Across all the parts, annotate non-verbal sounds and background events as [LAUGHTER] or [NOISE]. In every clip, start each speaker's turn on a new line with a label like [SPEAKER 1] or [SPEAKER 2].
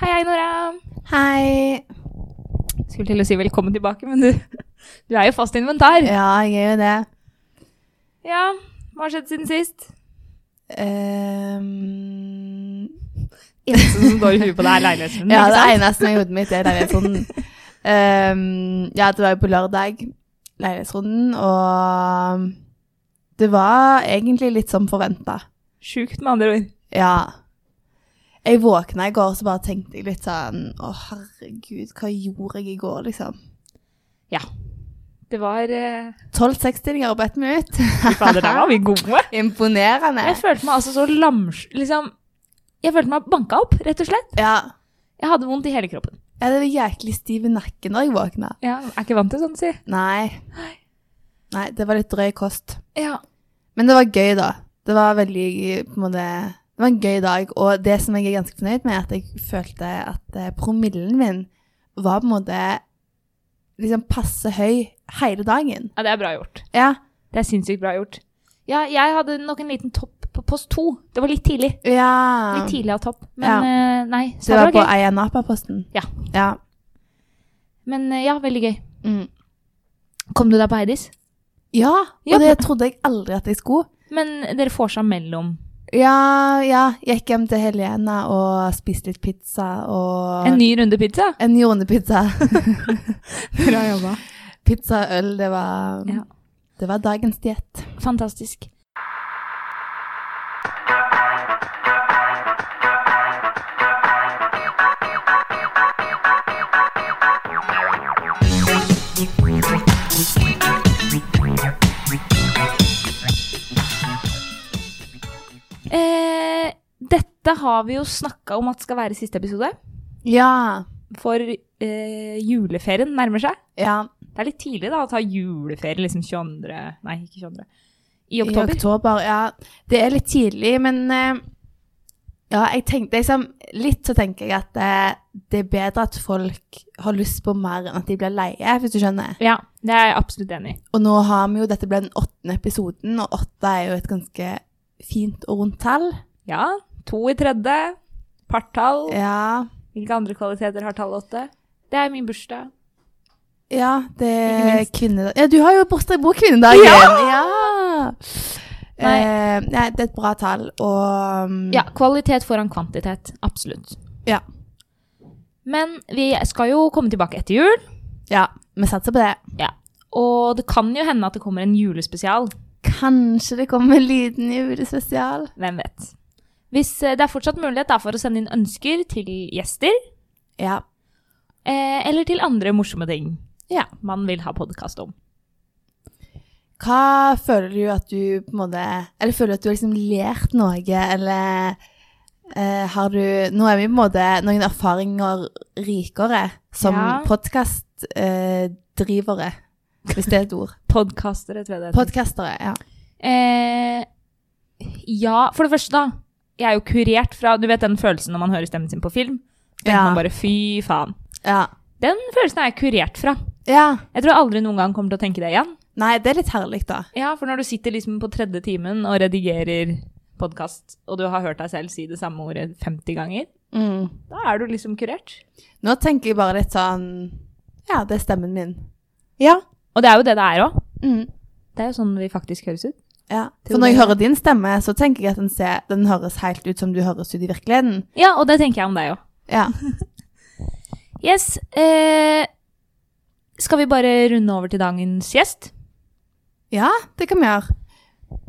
[SPEAKER 1] Hei, hei, Nora.
[SPEAKER 2] Hei.
[SPEAKER 1] Mm. Skulle til å si velkommen tilbake, men du, du er jo fast inventar.
[SPEAKER 2] Ja, jeg er jo det.
[SPEAKER 1] Ja, hva har skjedd siden sist?
[SPEAKER 2] Ehm,
[SPEAKER 1] Eneste som går i huet på deg, er leiligheten.
[SPEAKER 2] ja,
[SPEAKER 1] ikke
[SPEAKER 2] det
[SPEAKER 1] sant?
[SPEAKER 2] eneste som er i hodet mitt, er leilighetsrunden. Ehm, ja, det var jo på lørdag, leilighetsrunden, og det var egentlig litt som forventa.
[SPEAKER 1] Sjukt, med andre ord.
[SPEAKER 2] Ja. Jeg våkna i går, så bare tenkte jeg litt sånn Å, herregud, hva gjorde jeg i går, liksom?
[SPEAKER 1] Ja. Det var eh,
[SPEAKER 2] 12.60-stillinger på ett minutt.
[SPEAKER 1] Fy fader, der var vi gode.
[SPEAKER 2] Imponerende.
[SPEAKER 1] Jeg følte meg altså så lams... Liksom Jeg følte meg banka opp, rett og slett.
[SPEAKER 2] Ja.
[SPEAKER 1] Jeg hadde vondt i hele kroppen.
[SPEAKER 2] Jeg hadde jæklig stiv i nakken da jeg våkna.
[SPEAKER 1] Ja, er ikke vant til sånt, si.
[SPEAKER 2] Nei. Nei, det var litt drøy kost.
[SPEAKER 1] Ja.
[SPEAKER 2] Men det var gøy, da. Det var veldig på en måte Det var en gøy dag, og det som jeg er ganske fornøyd med, er at jeg følte at eh, promillen min var på en måte liksom passe høy hele dagen.
[SPEAKER 1] ja, det er bra gjort.
[SPEAKER 2] Ja.
[SPEAKER 1] Det er sinnssykt bra gjort. Ja, jeg hadde nok en liten topp på post to. Det var litt tidlig.
[SPEAKER 2] ja.
[SPEAKER 1] Litt tidlig av topp. Men eh, nei, så
[SPEAKER 2] Det var på
[SPEAKER 1] gøy.
[SPEAKER 2] Aya Napa-posten.
[SPEAKER 1] Ja.
[SPEAKER 2] ja.
[SPEAKER 1] Men eh, ja, veldig gøy.
[SPEAKER 2] Mm.
[SPEAKER 1] Kom du deg på Heidis?
[SPEAKER 2] Ja, og
[SPEAKER 1] Ja.
[SPEAKER 2] det trodde jeg aldri at jeg skulle.
[SPEAKER 1] Men dere får seg mellom
[SPEAKER 2] Ja, ja. Gikk hjem til Helena og spiste litt pizza og
[SPEAKER 1] en ny runde pizza.
[SPEAKER 2] En jordnepizza.
[SPEAKER 1] [LAUGHS] Bra jobba.
[SPEAKER 2] Pizza og øl, det var,
[SPEAKER 1] Ja.
[SPEAKER 2] det var dagens diett.
[SPEAKER 1] Fantastisk. Eh, dette har vi jo snakka om at skal være siste episode,
[SPEAKER 2] Ja.
[SPEAKER 1] for eh, juleferien nærmer seg.
[SPEAKER 2] ja.
[SPEAKER 1] Det er litt tidlig da å ta juleferie liksom 22. Nei, ikke 22. I
[SPEAKER 2] I
[SPEAKER 1] oktober.
[SPEAKER 2] oktober. Ja. Det er litt tidlig, men eh, ja, jeg tenkte liksom Litt så tenker jeg at eh, det er bedre at folk har lyst på mer enn at de blir leie, hvis du skjønner.
[SPEAKER 1] Ja, det er jeg absolutt enig i.
[SPEAKER 2] Og nå har vi jo Dette ble den åttende episoden, og åtte er jo et ganske fint og rundt tall.
[SPEAKER 1] Ja, to i tredje. Partall.
[SPEAKER 2] Ja.
[SPEAKER 1] Hvilke andre kvaliteter har tallet åtte? Det er min bursdag.
[SPEAKER 2] Ja, det
[SPEAKER 1] Ikke
[SPEAKER 2] er
[SPEAKER 1] minst.
[SPEAKER 2] kvinnedag. Ja, du har jo bursdag på kvinnedagen!
[SPEAKER 1] Ja!
[SPEAKER 2] Ja!
[SPEAKER 1] Nei.
[SPEAKER 2] Eh, nei, det er et bra tall, og um,
[SPEAKER 1] Ja, kvalitet foran kvantitet. Absolutt.
[SPEAKER 2] Ja.
[SPEAKER 1] Men vi skal jo komme tilbake etter jul,
[SPEAKER 2] ja, vi satser på det.
[SPEAKER 1] og det kan jo hende at det kommer en julespesial.
[SPEAKER 2] Kanskje det kommer en liten julespesial.
[SPEAKER 1] Hvem vet. Hvis eh, det er fortsatt mulighet da, for å sende inn ønsker til gjester,
[SPEAKER 2] Ja.
[SPEAKER 1] eh, eller til andre morsomme ting
[SPEAKER 2] Ja.
[SPEAKER 1] man vil ha podkast om.
[SPEAKER 2] Hva føler du at du på en måte Eller føler du at du har liksom lært noe, eller eh, har du Nå er vi på en måte noen erfaringer rikere som
[SPEAKER 1] Ja.
[SPEAKER 2] podcastdrivere, podkastdrivere, hvis det er et [LAUGHS] ord.
[SPEAKER 1] Podkastere, tror jeg det heter.
[SPEAKER 2] Podkastere, ja.
[SPEAKER 1] Eh, ja, for det første da. Jeg er jo kurert fra, du vet den følelsen når man hører stemmen sin på film? Så tenker
[SPEAKER 2] Ja.
[SPEAKER 1] man bare, fy faen.
[SPEAKER 2] Ja.
[SPEAKER 1] Den følelsen er jeg kurert fra.
[SPEAKER 2] ja.
[SPEAKER 1] Jeg tror jeg aldri noen gang kommer til å tenke det igjen.
[SPEAKER 2] Nei, det er litt herlig, da.
[SPEAKER 1] Ja, for når du sitter liksom på tredje timen og redigerer podcast, og du har hørt deg selv si det samme ordet 50 ganger, da er du liksom kurert.
[SPEAKER 2] Nå tenker jeg bare litt sånn Ja, det er stemmen min. Ja.
[SPEAKER 1] Og det er jo det det er også.
[SPEAKER 2] Mm.
[SPEAKER 1] Det er jo sånn vi faktisk høres ut.
[SPEAKER 2] ja.
[SPEAKER 1] Tror
[SPEAKER 2] For når
[SPEAKER 1] du-
[SPEAKER 2] jeg hører din stemme, så tenker jeg at den, ser, den høres helt ut som du høres ut i virkeligheten.
[SPEAKER 1] Ja, og det tenker jeg om deg også. [LAUGHS]
[SPEAKER 2] Ja.
[SPEAKER 1] Yes, eh, skal vi bare runde over til dagens gjest?
[SPEAKER 2] ja, det kan vi gjøre.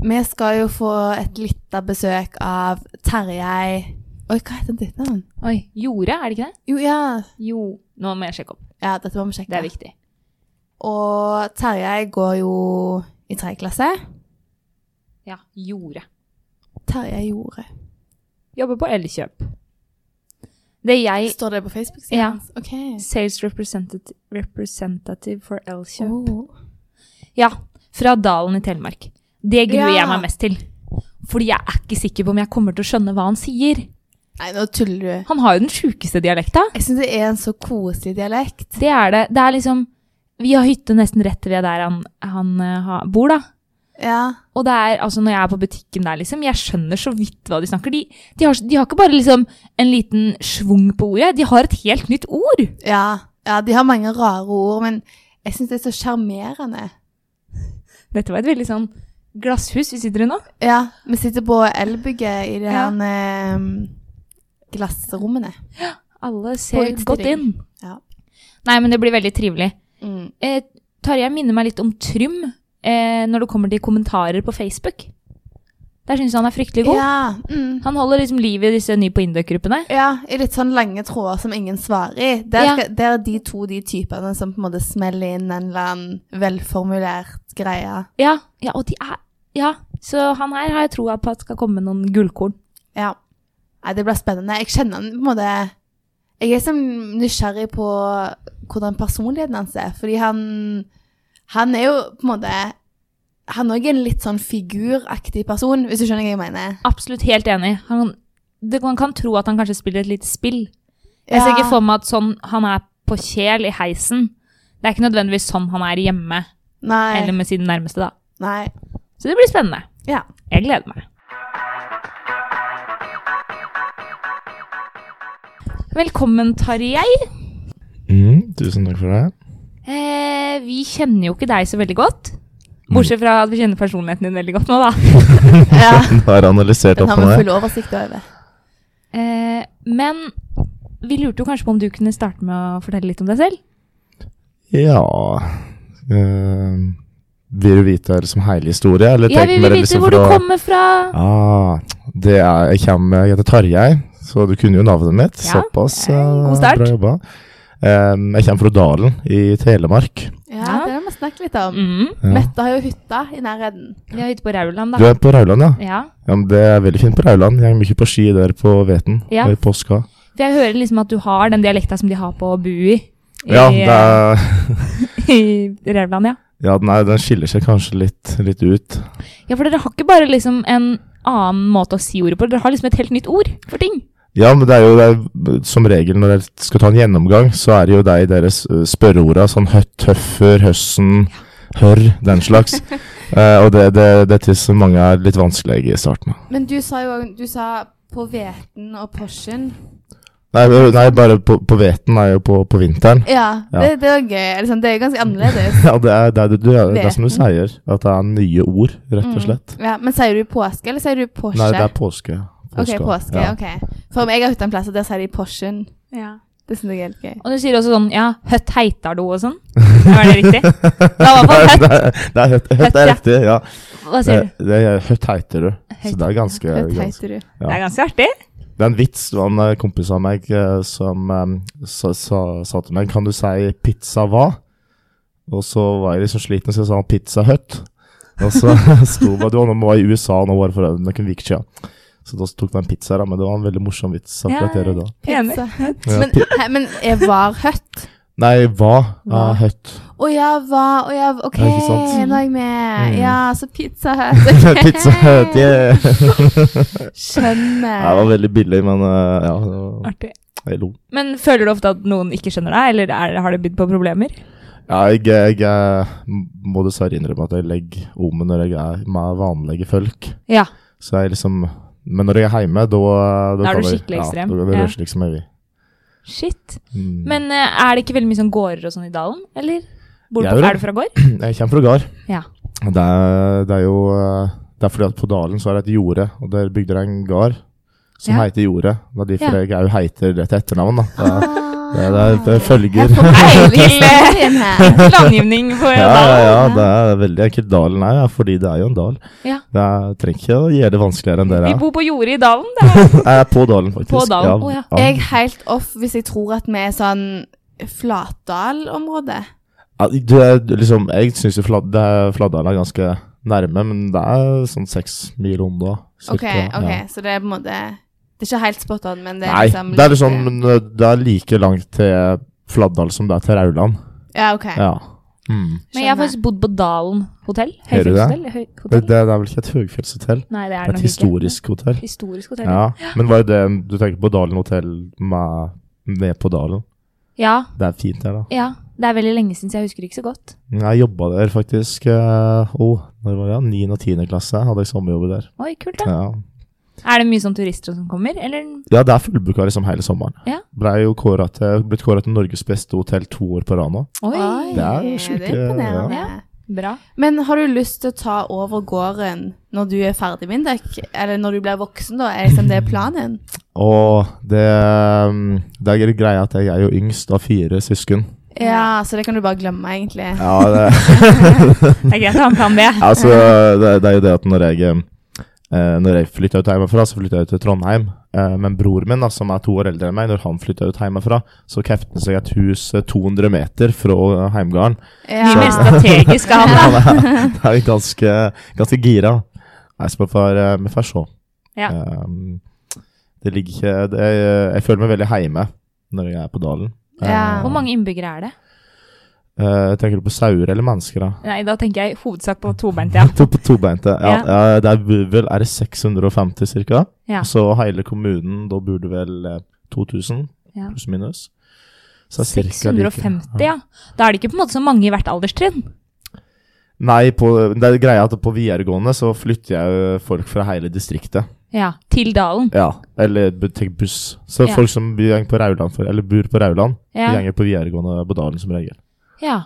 [SPEAKER 2] Vi skal jo få et lite besøk av Terjei Oi, hva heter ditt navn?
[SPEAKER 1] Oi, Jorde, er det ikke det?
[SPEAKER 2] Jo, ja.
[SPEAKER 1] Jo, nå må jeg sjekke opp.
[SPEAKER 2] ja, dette må vi sjekke.
[SPEAKER 1] Det er viktig.
[SPEAKER 2] Og Terjei går jo i tredje klasse.
[SPEAKER 1] Ja, gjorde.
[SPEAKER 2] Terjei gjorde
[SPEAKER 1] Jobber på Elkjøp. Det er jeg
[SPEAKER 2] Står det på Facebook-siden
[SPEAKER 1] Ja.
[SPEAKER 2] hans? OK.
[SPEAKER 1] Sales representative, representative for Elkjøp.
[SPEAKER 2] Oh.
[SPEAKER 1] Ja, fra Dalen i Telemark. Det gruer
[SPEAKER 2] Ja.
[SPEAKER 1] jeg meg mest til. Fordi jeg er ikke sikker på om jeg kommer til å skjønne hva han sier.
[SPEAKER 2] Nei, nå tuller du.
[SPEAKER 1] Han har jo den sjukeste dialekta.
[SPEAKER 2] Jeg syns det er en så koselig dialekt.
[SPEAKER 1] Det er det. Det er liksom Vi har hytte nesten rett ved der han, han eh, ha- bor, da.
[SPEAKER 2] Ja.
[SPEAKER 1] Og det er, altså når jeg er på butikken der, liksom, jeg skjønner så vidt hva de snakker. De, de, har, de har ikke bare liksom en liten schwung på ordet, de har et helt nytt ord.
[SPEAKER 2] Ja. ja, de har mange rare ord, men jeg syns det er så sjarmerende.
[SPEAKER 1] Dette var et veldig sånn glasshus vi sitter i nå.
[SPEAKER 2] Ja, vi sitter på elbygget i de
[SPEAKER 1] Ja.
[SPEAKER 2] her eh, glassrommene.
[SPEAKER 1] Alle
[SPEAKER 2] På
[SPEAKER 1] ser
[SPEAKER 2] utstilling.
[SPEAKER 1] godt inn.
[SPEAKER 2] Ja.
[SPEAKER 1] Nei, men det blir veldig trivelig.
[SPEAKER 2] Mm.
[SPEAKER 1] Eh, Tarjei minner meg litt om Trym eh, når det kommer til kommentarer på Facebook. Der syns jeg han er fryktelig god.
[SPEAKER 2] Ja, mm.
[SPEAKER 1] Han holder liksom liv i disse ny på Indøk-gruppene.
[SPEAKER 2] ja, i litt sånn lange tråder som ingen svarer i. Der,
[SPEAKER 1] Ja.
[SPEAKER 2] skal, der er de to de typene som på en måte smeller inn en eller annen velformulert greie.
[SPEAKER 1] Ja, ja, og de er Ja, så han her har jeg troa på at skal komme noen gullkorn.
[SPEAKER 2] Ja. Nei, det blir spennende. Jeg kjenner han på en måte Jeg er så nysgjerrig på hvordan personligheten hans er, fordi han Han er jo på en måte Han òg er en litt sånn figuraktig person, hvis du skjønner hva jeg mener.
[SPEAKER 1] Absolutt helt enig. Han, det, man kan tro at han kanskje spiller et lite spill. Jeg
[SPEAKER 2] Ja.
[SPEAKER 1] ser ikke for meg at sånn han er på kjel i heisen. Det er ikke nødvendigvis sånn han er hjemme eller
[SPEAKER 2] Nei.
[SPEAKER 1] med sine nærmeste, da.
[SPEAKER 2] Nei.
[SPEAKER 1] Så det blir spennende.
[SPEAKER 2] Ja.
[SPEAKER 1] Jeg gleder meg. Velkommen, Tarjei.
[SPEAKER 3] Mm, tusen takk for det.
[SPEAKER 1] Eh, vi kjenner jo ikke deg så veldig godt. Bortsett fra at vi kjenner personligheten din veldig godt nå, da.
[SPEAKER 2] ja.
[SPEAKER 3] [LAUGHS] Den har analysert
[SPEAKER 2] Den
[SPEAKER 3] opp
[SPEAKER 2] har
[SPEAKER 3] på
[SPEAKER 2] vi
[SPEAKER 3] meg.
[SPEAKER 2] full oversikt over.
[SPEAKER 1] Eh, men vi lurte jo kanskje på om du kunne starte med å fortelle litt om deg selv.
[SPEAKER 3] Ja eh, Vil du vite det som hele historie? Eller
[SPEAKER 1] Ja,
[SPEAKER 3] tenker
[SPEAKER 1] vi vil
[SPEAKER 3] dere
[SPEAKER 1] vite
[SPEAKER 3] liksom
[SPEAKER 1] hvor du
[SPEAKER 3] fra-
[SPEAKER 1] kommer fra.
[SPEAKER 3] Ah, det er, jeg, kommer, jeg heter Tarjei, så du kunne jo navnet mitt.
[SPEAKER 1] Ja,
[SPEAKER 3] Såpass.
[SPEAKER 1] eh, god
[SPEAKER 3] eh,
[SPEAKER 1] start.
[SPEAKER 3] Bra jobba. Em, jeg kommer fra Dalen i Telemark.
[SPEAKER 2] Ja,
[SPEAKER 1] Ja.
[SPEAKER 2] det har vi snakket litt om.
[SPEAKER 1] Mm.
[SPEAKER 3] Ja.
[SPEAKER 2] Mette har jo hytta i nærheten.
[SPEAKER 1] Vi er ute på Rauland,
[SPEAKER 3] Du
[SPEAKER 1] da.
[SPEAKER 3] er på Rauland, ja?
[SPEAKER 1] Ja.
[SPEAKER 3] ja men det er veldig fint på Rauland. Jeg er mye på ski der på Veten.
[SPEAKER 1] Ja.
[SPEAKER 3] Eller på Ska.
[SPEAKER 1] For jeg hører liksom at du har den dialekta som de har på Bui i, eh,
[SPEAKER 3] Ja, det er,
[SPEAKER 1] [LAUGHS] i Rauland, ja.
[SPEAKER 3] ja den, er, den skiller seg kanskje litt, litt ut.
[SPEAKER 1] Ja, for dere har ikke bare liksom en annen måte å si ordet på, dere har liksom et helt nytt ord for ting.
[SPEAKER 3] Ja, men det er jo det er, som regel når jeg skal ta en gjennomgang, så er det jo deg deres eh, spørreorda, sånn høtt, tøffer, høssen, hørr, den
[SPEAKER 2] [LAUGHS]
[SPEAKER 3] slags. Eh, og det, det, det er til som mange er litt vanskelige i starten.
[SPEAKER 2] Men du sa jo òg Du sa på Veten og Porschen.
[SPEAKER 3] Nei, ø- nei bare på, på veten er jo på, på vinteren. [LAUGHS]
[SPEAKER 2] Ja,
[SPEAKER 3] Ja.
[SPEAKER 2] Det, det var gøy. Eller sånn, Det er jo ganske annerledes.
[SPEAKER 3] Ja, det er, det, er, det, er, det er som
[SPEAKER 2] Veten.
[SPEAKER 3] du
[SPEAKER 2] Mm.
[SPEAKER 3] sier, at det er nye ord, rett og slett.
[SPEAKER 2] Ja, men sier du påske, eller sier du Porsche?
[SPEAKER 3] Nei, det er påske.
[SPEAKER 2] Ok, påske,
[SPEAKER 3] ja. [LAUGHS]
[SPEAKER 2] ok. For om jeg har hytta en plass, og der sier de Porschen. Det synes jeg er helt gøy.
[SPEAKER 1] Og du sier også sånn ja, høtt heitar du og sånn.
[SPEAKER 3] [LAUGHS]
[SPEAKER 1] Er det riktig? Ja, i hvert fall høtt.
[SPEAKER 3] Nei, det er, det er høtt, høtt
[SPEAKER 1] Høtt,
[SPEAKER 3] er
[SPEAKER 1] ja.
[SPEAKER 3] riktig, ja.
[SPEAKER 1] Hva
[SPEAKER 3] Det,
[SPEAKER 1] sier du?
[SPEAKER 3] det er høtt heiter du. Så det er ganske,
[SPEAKER 2] Høtt
[SPEAKER 3] ganske
[SPEAKER 2] heiter du.
[SPEAKER 3] ja.
[SPEAKER 1] Det er ganske artig.
[SPEAKER 3] Det er en vits det var en eh, kompis av meg eh, som eh, sa, sa, sa til meg Kan du si 'pizza hva?' Og så var jeg liksom sliten, så jeg sa 'pizza hut'. Og så [LAUGHS] sto det Du var i USA nå bare for noen uker siden. Så da tok vi en pizza, da, men det var en veldig morsom vits akkurat der og da.
[SPEAKER 1] Enig.
[SPEAKER 2] Pizza.
[SPEAKER 3] Ja.
[SPEAKER 2] Men, hæ, men jeg var høtt.
[SPEAKER 3] Nei, hva Ah,
[SPEAKER 1] Hva?
[SPEAKER 3] er høtt?
[SPEAKER 2] Å ja, hva? Å ja, OK,
[SPEAKER 3] Ja, ikke sant?
[SPEAKER 2] nå er jeg med.
[SPEAKER 3] Mm.
[SPEAKER 2] Ja, så pizza høtt.
[SPEAKER 3] [LAUGHS]
[SPEAKER 2] ok.
[SPEAKER 3] [LAUGHS] pizza hut, yeah! [LAUGHS] Det var
[SPEAKER 2] Skjønner.
[SPEAKER 3] veldig billig, men eh, ja, det var,
[SPEAKER 1] Artig.
[SPEAKER 3] jeg lo.
[SPEAKER 1] Men føler du ofte at noen ikke skjønner deg, eller er, har det bydd på problemer?
[SPEAKER 3] Ja, jeg, jeg eh, må dessverre innrømme at jeg legger om når jeg er med vanlige folk.
[SPEAKER 1] Ja.
[SPEAKER 3] Så jeg liksom Men når jeg er hjemme, da
[SPEAKER 1] Da er
[SPEAKER 3] kan
[SPEAKER 1] du
[SPEAKER 3] jeg-
[SPEAKER 1] skikkelig
[SPEAKER 3] ja,
[SPEAKER 1] ekstrem.
[SPEAKER 3] Da, da
[SPEAKER 1] Ja.
[SPEAKER 3] rører liksom jeg i.
[SPEAKER 1] Shit.
[SPEAKER 3] Mm.
[SPEAKER 1] Men eh, er det ikke veldig mye sånn gårder og sånn i dalen, eller? Bor du
[SPEAKER 3] Jeg
[SPEAKER 1] på,
[SPEAKER 3] gjør det.
[SPEAKER 1] er du fra
[SPEAKER 3] [LAUGHS]
[SPEAKER 1] gård?
[SPEAKER 3] Jeg kommer fra gard.
[SPEAKER 1] Ja.
[SPEAKER 3] Og Det er, det er jo eh, Det er fordi at på Dalen så er det et jorde, og der bygde de en gard som
[SPEAKER 1] Ja.
[SPEAKER 3] heter Jordet. Det er derfor
[SPEAKER 1] Ja.
[SPEAKER 3] jeg òg heter det til etternavn,
[SPEAKER 1] [LAUGHS]
[SPEAKER 3] da. Det, er- det,
[SPEAKER 2] Ah.
[SPEAKER 3] er- det følger
[SPEAKER 2] Jeg får
[SPEAKER 1] Til, eh,
[SPEAKER 3] [LAUGHS]
[SPEAKER 2] peiling her.
[SPEAKER 1] Landgivning for
[SPEAKER 3] ja, ja,
[SPEAKER 1] dalen.
[SPEAKER 3] ja, det er veldig enkelt. Dalen er ja, fordi det er jo en dal.
[SPEAKER 1] Ja.
[SPEAKER 3] Det er, trenger ikke å gjøre det vanskeligere enn dere
[SPEAKER 1] Vi
[SPEAKER 3] er.
[SPEAKER 1] bor på jordet i dalen. Det er
[SPEAKER 3] Jeg er Eh, på Dalen, faktisk.
[SPEAKER 1] På Dalen, å ja.
[SPEAKER 2] Jeg er helt off hvis jeg tror at vi er sånn Flatdal-område.
[SPEAKER 3] Ja, du er liksom, jeg syns jo Flad- det er- Fladdalen er ganske nærme, men det er sånn seks mil unna. cirka,
[SPEAKER 2] OK, ok,
[SPEAKER 3] ja.
[SPEAKER 2] så det er på en måte Det er ikke helt spot on, men det er
[SPEAKER 3] Nei,
[SPEAKER 2] liksom
[SPEAKER 3] det er
[SPEAKER 2] litt-
[SPEAKER 3] liksom men, ø, Det er like langt til Fladdal som det er til Rauland.
[SPEAKER 2] Ja, OK.
[SPEAKER 3] Ja. Mm.
[SPEAKER 1] Men jeg har faktisk bodd på Dalen hotell.
[SPEAKER 3] Gjør du det?
[SPEAKER 1] Høyfjellshotell? høy-
[SPEAKER 3] Det,
[SPEAKER 1] hotell?
[SPEAKER 3] det, det er vel ikke et høgfjellshotell?
[SPEAKER 1] Nei, det er
[SPEAKER 3] Det er
[SPEAKER 1] nok ikke.
[SPEAKER 3] et historisk hotell.
[SPEAKER 1] Historisk hotell. Ja.
[SPEAKER 3] Ja. Men var det det du tenkte på Dalen hotell med, med på Dalen?
[SPEAKER 1] ja.
[SPEAKER 3] Det er fint der, da.
[SPEAKER 1] Ja, Det er veldig lenge siden, så jeg husker ikke så godt.
[SPEAKER 3] Jeg jobba der faktisk eh, oh, når var det, ja, 9. og 10. klasse. Hadde jeg sommerjobber der.
[SPEAKER 1] Oi, kult da.
[SPEAKER 3] Ja.
[SPEAKER 1] Er det mye sånn turister som kommer, eller?
[SPEAKER 3] ja, det er fullbooka liksom hele sommeren.
[SPEAKER 1] Ja.
[SPEAKER 3] Blei jo kåret til, blitt kåra til Norges beste hotell to år på rad nå.
[SPEAKER 1] Oi,
[SPEAKER 2] Oi,
[SPEAKER 3] Det er eh, sjuke-
[SPEAKER 2] det er imponerende.
[SPEAKER 1] ja. bra.
[SPEAKER 2] Men har du lyst til å ta over gården når du er ferdig med Indek? Eller når du blir voksen, da? Er liksom det planen?
[SPEAKER 3] Og det, mm, det er greia at jeg er jo yngst av fire søsken.
[SPEAKER 2] Ja, så det kan du bare glemme, egentlig.
[SPEAKER 3] Ja, det, [LAUGHS]
[SPEAKER 1] Det er greit å ha en plan B. [LAUGHS]
[SPEAKER 3] altså, det, det er jo det at når jeg, eh, når jeg flytta ut hjemmefra, så flytta jeg til Trondheim. Eh, men broren min, da, som er to år eldre enn meg, når han flytta ut hjemmefra, så kjeftet han seg et hus eh, 200 meter fra heimgården.
[SPEAKER 1] Mye mer
[SPEAKER 2] [LAUGHS] Ja.
[SPEAKER 1] strategisk av han, da.
[SPEAKER 3] Han er, [LAUGHS] han er ganske, ganske gira. Nei, så vi får, eh, vi får se.
[SPEAKER 1] Ja.
[SPEAKER 3] Ehm, det ligger ikke det, jeg, jeg føler meg veldig heime når jeg er på dalen.
[SPEAKER 2] Ja.
[SPEAKER 3] Eh,
[SPEAKER 1] Hvor mange innbyggere er det?
[SPEAKER 3] eh, tenker du på sauer eller mennesker, da?
[SPEAKER 1] Nei, da tenker jeg hovedsak på tobeint, ja.
[SPEAKER 3] To på tobeinte. Ja, eh, det er vel er det 650 ca.
[SPEAKER 1] Ja.
[SPEAKER 3] Så hele kommunen, da burde vel eh, 2000,
[SPEAKER 1] Ja.
[SPEAKER 3] pluss minus. Så er det cirka like.
[SPEAKER 1] 650, ja. Da er det ikke på en måte så mange i hvert alderstrinn.
[SPEAKER 3] Nei, på, det er greia at på videregående så flytter jeg jo folk fra hele distriktet.
[SPEAKER 1] Ja, til dalen.
[SPEAKER 3] Ja, eller bu- tenk buss. Så
[SPEAKER 1] Ja.
[SPEAKER 3] folk som bor på Rauland, for, eller bor på Rauland,
[SPEAKER 1] Ja.
[SPEAKER 3] de går på videregående på Dalen som regel.
[SPEAKER 1] Ja.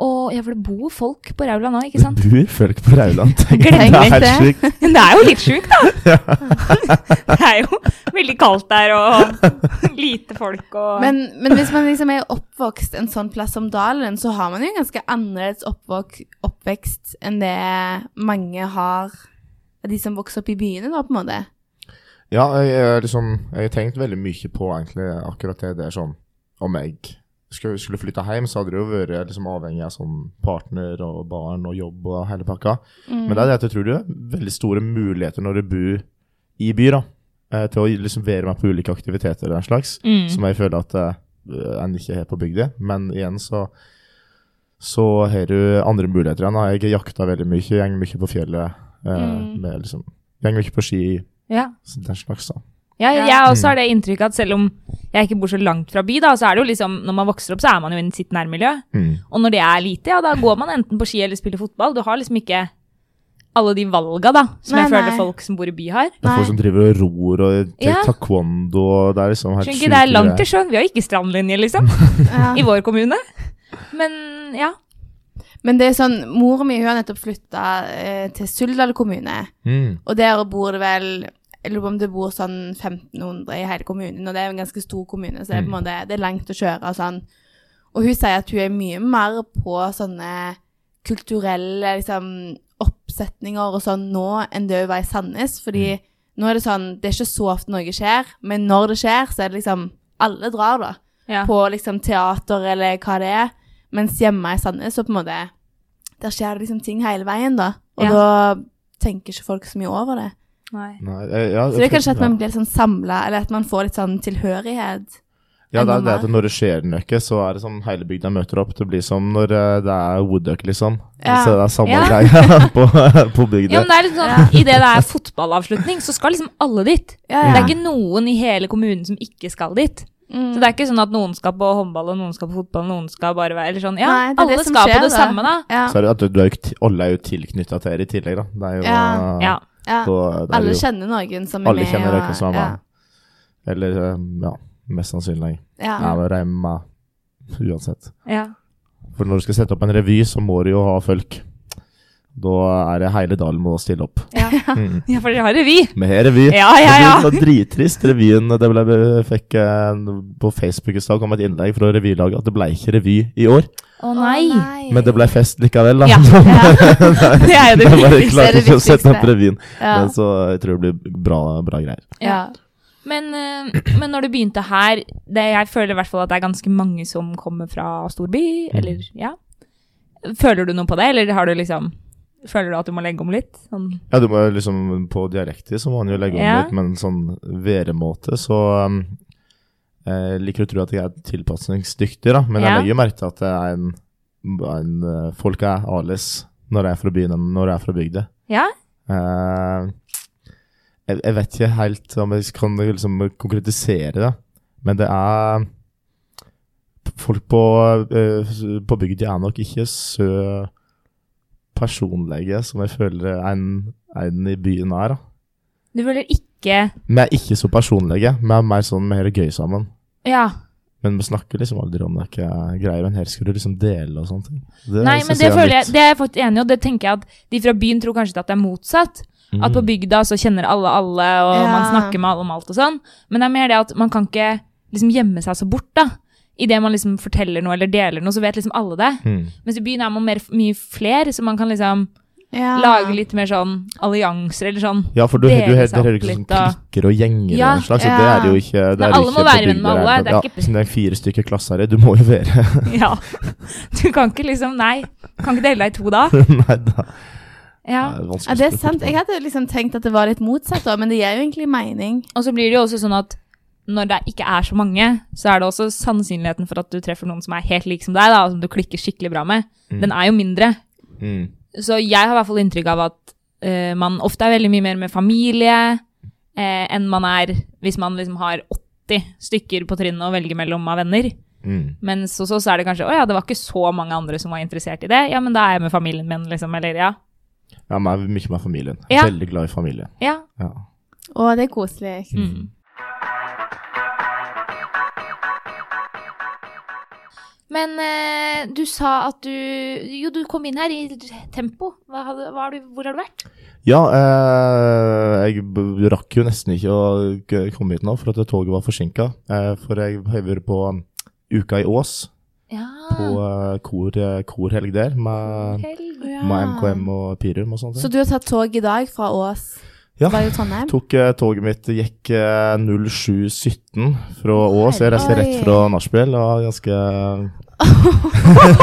[SPEAKER 1] Og ja, for det bor folk på Raula nå, ikke sant? [LAUGHS]
[SPEAKER 3] Det [LAUGHS] bor folk på Rauland, tenk
[SPEAKER 1] Glem
[SPEAKER 3] det er
[SPEAKER 2] ikke
[SPEAKER 3] helt
[SPEAKER 2] det.
[SPEAKER 3] sjukt.
[SPEAKER 1] Men det er jo litt sjukt, da. [LAUGHS] Det er jo veldig kaldt der, og lite folk og
[SPEAKER 2] Men, men hvis man liksom er oppvokst en sånn plass som Dalen, så har man jo en ganske annerledes oppvok oppvekst enn det mange har av de som vokser opp i byene, da, på en måte.
[SPEAKER 3] Ja, jeg, jeg, liksom, jeg har tenkt veldig mye på egentlig akkurat det der sånn, om jeg skulle, skulle flytte hjem, så hadde det jo vært liksom, avhengig av sånn partner og barn og jobb og hele pakka.
[SPEAKER 2] Mm.
[SPEAKER 1] Mm.
[SPEAKER 3] Men det er det at jeg tror det er veldig store muligheter når du bor i by, da, eh, til å liksom være med på ulike aktiviteter og den slags.
[SPEAKER 1] mm.
[SPEAKER 3] som jeg føler at eh, en ikke har på bygda. Men igjen så så har du andre muligheter igjen. da. Jeg har jakta veldig mye, går mye på fjellet. Eh,
[SPEAKER 2] Mm.
[SPEAKER 3] med liksom, Går mye på ski,
[SPEAKER 1] ja.
[SPEAKER 3] så den slags. da.
[SPEAKER 1] Ja, jeg også har det inntrykket at selv om jeg ikke bor så langt fra by, da, så er det jo liksom, når man vokser opp, så er man jo i sitt nærmiljø.
[SPEAKER 3] Mm.
[SPEAKER 1] Og når det er lite, ja, da går man enten på ski eller spiller fotball. Du har liksom ikke alle de valga, da, som
[SPEAKER 2] Nei,
[SPEAKER 1] jeg føler
[SPEAKER 2] nei.
[SPEAKER 1] folk som bor i by har.
[SPEAKER 3] Det er folk som driver og ror og tar
[SPEAKER 1] Ja.
[SPEAKER 3] taekwondo og Det er liksom helt
[SPEAKER 1] Skjønner ikke, det er
[SPEAKER 3] sjuke
[SPEAKER 1] langt
[SPEAKER 3] greier.
[SPEAKER 1] til sjøen. Vi har ikke strandlinje, liksom,
[SPEAKER 2] Ja.
[SPEAKER 1] i vår kommune. Men ja.
[SPEAKER 2] Men det er sånn, moren min hun har nettopp flytta eh, til Suldal kommune.
[SPEAKER 3] Mm.
[SPEAKER 2] Og der bor det vel Jeg lurer på om det bor sånn 1500 i hele kommunen, og det er jo en ganske stor kommune, så det er, på en måte, det er langt å kjøre og sånn. Og hun sier at hun er mye mer på sånne kulturelle liksom, oppsetninger og sånn nå enn det hun var i Sandnes, fordi nå er det sånn Det er ikke så ofte noe skjer, men når det skjer, så er det liksom Alle drar, da
[SPEAKER 1] ja.
[SPEAKER 2] på liksom teater eller hva det er. Mens hjemme i Sandnes, så på en måte Der skjer det liksom ting hele veien, da. Og
[SPEAKER 1] Ja.
[SPEAKER 2] da tenker ikke folk så mye over det.
[SPEAKER 1] Nei.
[SPEAKER 3] Nei, eh, ja,
[SPEAKER 2] Så det er
[SPEAKER 3] for-
[SPEAKER 2] kanskje at man blir litt sånn samla, eller at man får litt sånn tilhørighet.
[SPEAKER 3] Ja, det er
[SPEAKER 2] enda
[SPEAKER 3] det at
[SPEAKER 2] mer.
[SPEAKER 3] når det skjer noe, så er det sånn hele bygda møter opp. Det blir som når eh, det er Woodduck, liksom.
[SPEAKER 2] Ja.
[SPEAKER 3] Så det er samme
[SPEAKER 1] Ja.
[SPEAKER 3] greia [LAUGHS] på, på bygda.
[SPEAKER 1] Ja, men det er litt sånn, I det det er fotballavslutning, så skal liksom alle dit.
[SPEAKER 2] Ja,
[SPEAKER 1] Det
[SPEAKER 2] ja. Mm.
[SPEAKER 1] er ikke noen i hele kommunen som ikke skal dit. Så det er ikke sånn at noen skal på håndball, og noen skal på fotball, og noen skal bare være eller sånn. Ja,
[SPEAKER 2] Nei, det er det
[SPEAKER 1] alle
[SPEAKER 2] som
[SPEAKER 1] skal
[SPEAKER 2] skjer,
[SPEAKER 1] på det
[SPEAKER 2] da.
[SPEAKER 1] samme, da.
[SPEAKER 2] Ja.
[SPEAKER 3] Så er det at du, du er jo, t- alle er jo tilknytta til dere i tillegg, da. Det er jo,
[SPEAKER 2] Ja.
[SPEAKER 1] Ja.
[SPEAKER 2] ja.
[SPEAKER 3] Så, det er
[SPEAKER 2] Alle
[SPEAKER 3] jo,
[SPEAKER 2] kjenner noen som er
[SPEAKER 3] alle
[SPEAKER 2] med.
[SPEAKER 3] kjenner
[SPEAKER 2] og-
[SPEAKER 3] dere som er
[SPEAKER 2] ja.
[SPEAKER 3] med. Eller um, ja, mest sannsynlig.
[SPEAKER 2] Ja.
[SPEAKER 3] Jeg vil regne med uansett.
[SPEAKER 1] Ja.
[SPEAKER 3] For når du skal sette opp en revy, så må du jo ha folk. Da er det hele dalen må stille opp. Mm.
[SPEAKER 1] ja, for dere har revy.
[SPEAKER 3] Vi har revy.
[SPEAKER 1] Ja, ja, ja.
[SPEAKER 3] Det var drittrist, revyen det ble, fikk eh, på Facebook i stad, kom et innlegg fra revylaget at det ble ikke revy i år.
[SPEAKER 1] Å nei.
[SPEAKER 2] Å, nei.
[SPEAKER 3] Men det ble fest likevel, da. [LAUGHS]
[SPEAKER 1] Ja. Det er jo det
[SPEAKER 3] Jeg bare
[SPEAKER 1] viktigste.
[SPEAKER 2] er
[SPEAKER 3] klarte
[SPEAKER 2] det
[SPEAKER 3] ikke å sette opp
[SPEAKER 2] viktigste.
[SPEAKER 3] revyen.
[SPEAKER 2] ja.
[SPEAKER 3] Men så jeg tror det blir bra, bra greier.
[SPEAKER 2] Ja.
[SPEAKER 1] Men, eh, men når du begynte her, det, jeg føler i hvert fall at det er ganske mange som kommer fra storby,
[SPEAKER 3] Mm.
[SPEAKER 1] eller ja. Føler du noe på det, eller har du liksom Føler du at du må legge om litt? Sånn.
[SPEAKER 3] Ja, du må jo liksom På dialekter så må han jo legge om
[SPEAKER 1] Ja.
[SPEAKER 3] litt, men sånn væremåte så um, Jeg Eh, liker å tro at jeg er tilpasningsdyktig, da, men
[SPEAKER 1] Ja.
[SPEAKER 3] jeg legger jo merke til at det er en, en eh, Folk er annerledes når jeg er fra byen enn når jeg er fra bygda.
[SPEAKER 1] Ja?
[SPEAKER 3] Eh, jeg, jeg vet ikke helt om jeg kan liksom konkretisere det, men det er folk på, eh, på bygda er nok ikke så personlige som jeg føler en, en i byen er. Da.
[SPEAKER 1] Du føler ikke
[SPEAKER 3] Vi er ikke så personlige, vi er mer sånn vi har det gøy sammen.
[SPEAKER 1] Ja.
[SPEAKER 3] Men vi snakker liksom aldri om det ikke er greier, men her skal du liksom dele og sånne ting. Det
[SPEAKER 1] Nei,
[SPEAKER 3] synes
[SPEAKER 1] men det
[SPEAKER 3] er
[SPEAKER 1] føler jeg,
[SPEAKER 3] litt-
[SPEAKER 1] det er jeg faktisk enig i, og det tenker jeg at de fra byen tror kanskje at det er motsatt.
[SPEAKER 3] Mm.
[SPEAKER 1] At på bygda så kjenner alle alle, og
[SPEAKER 2] Ja.
[SPEAKER 1] man snakker med alle om alt og sånn. Men det er mer det at man kan ikke liksom gjemme seg så bort, da. Idet man liksom forteller noe eller deler noe, så vet liksom alle det.
[SPEAKER 3] Mm.
[SPEAKER 1] Mens i byen er man mer, mye fler, så man kan liksom
[SPEAKER 2] Ja.
[SPEAKER 1] lage litt mer sånn allianser eller sånn.
[SPEAKER 3] Ja, for du, du,
[SPEAKER 1] Dele
[SPEAKER 3] du,
[SPEAKER 1] seg
[SPEAKER 3] du hører
[SPEAKER 1] opp
[SPEAKER 3] ikke sånn
[SPEAKER 1] litt, da.
[SPEAKER 3] klikker og gjenger
[SPEAKER 1] Ja,
[SPEAKER 3] og den slags, så
[SPEAKER 2] ja.
[SPEAKER 3] det er jo ikke det
[SPEAKER 1] Nei,
[SPEAKER 3] er
[SPEAKER 1] alle
[SPEAKER 3] ikke
[SPEAKER 1] må
[SPEAKER 3] på
[SPEAKER 1] være venn med
[SPEAKER 3] bygda i det
[SPEAKER 1] alle,
[SPEAKER 3] hele
[SPEAKER 1] det er
[SPEAKER 3] tatt.
[SPEAKER 1] ikke-
[SPEAKER 3] Ja, siden det er fire stykker klasser her, du må jo være
[SPEAKER 1] [LAUGHS] [LAUGHS] Ja. Du kan ikke liksom Nei. Kan ikke dele deg i to da.
[SPEAKER 3] Nei da.
[SPEAKER 1] Ja.
[SPEAKER 3] Nei,
[SPEAKER 2] Ja,
[SPEAKER 3] vanskelig å
[SPEAKER 2] det er
[SPEAKER 3] spille
[SPEAKER 2] sant.
[SPEAKER 3] fotball.
[SPEAKER 2] Jeg hadde liksom tenkt at det var litt motsatt, da, men det gir jo egentlig mening.
[SPEAKER 1] Og så blir det jo også sånn at når det ikke er så mange, så er det også sannsynligheten for at du treffer noen som er helt lik som deg, da, og som du klikker skikkelig bra med, den er jo mindre.
[SPEAKER 3] Mm.
[SPEAKER 1] Så jeg har i hvert fall inntrykk av at eh, man ofte er veldig mye mer med familie eh, enn man er hvis man liksom har 80 stykker på trinnet å velge mellom av venner.
[SPEAKER 3] Mm.
[SPEAKER 1] Mens hos oss er det kanskje 'Å ja, det var ikke så mange andre som var interessert i det'. Ja, men da er jeg med familien min, liksom. Eller ja.
[SPEAKER 3] Ja, men jeg er mye med familien.
[SPEAKER 1] Ja.
[SPEAKER 3] Veldig glad i familien.
[SPEAKER 1] Ja.
[SPEAKER 3] Ja.
[SPEAKER 2] Å, det er koselig.
[SPEAKER 1] Mm. Men eh, du sa at du Jo, du kom inn her i tempo. Hva hadde, hva har du, hvor har du vært?
[SPEAKER 3] Ja, eh, jeg b- rakk jo nesten ikke å k- komme hit nå, for at toget var forsinka. Eh, for jeg har vært på um, Uka i Ås,
[SPEAKER 1] Ja.
[SPEAKER 3] på eh, kor, eh, korhelg der, med,
[SPEAKER 1] [LAUGHS] Helg.
[SPEAKER 3] med MKM og Pirum og sånt.
[SPEAKER 2] Så du har tatt tog i dag fra Ås?
[SPEAKER 3] Ja.
[SPEAKER 2] Var jo Trondheim?
[SPEAKER 3] Tok eh, toget mitt, gikk eh, 0717 fra Ås. Jeg reiste
[SPEAKER 2] Oi.
[SPEAKER 3] rett fra nachspiel og var ganske
[SPEAKER 2] [LAUGHS]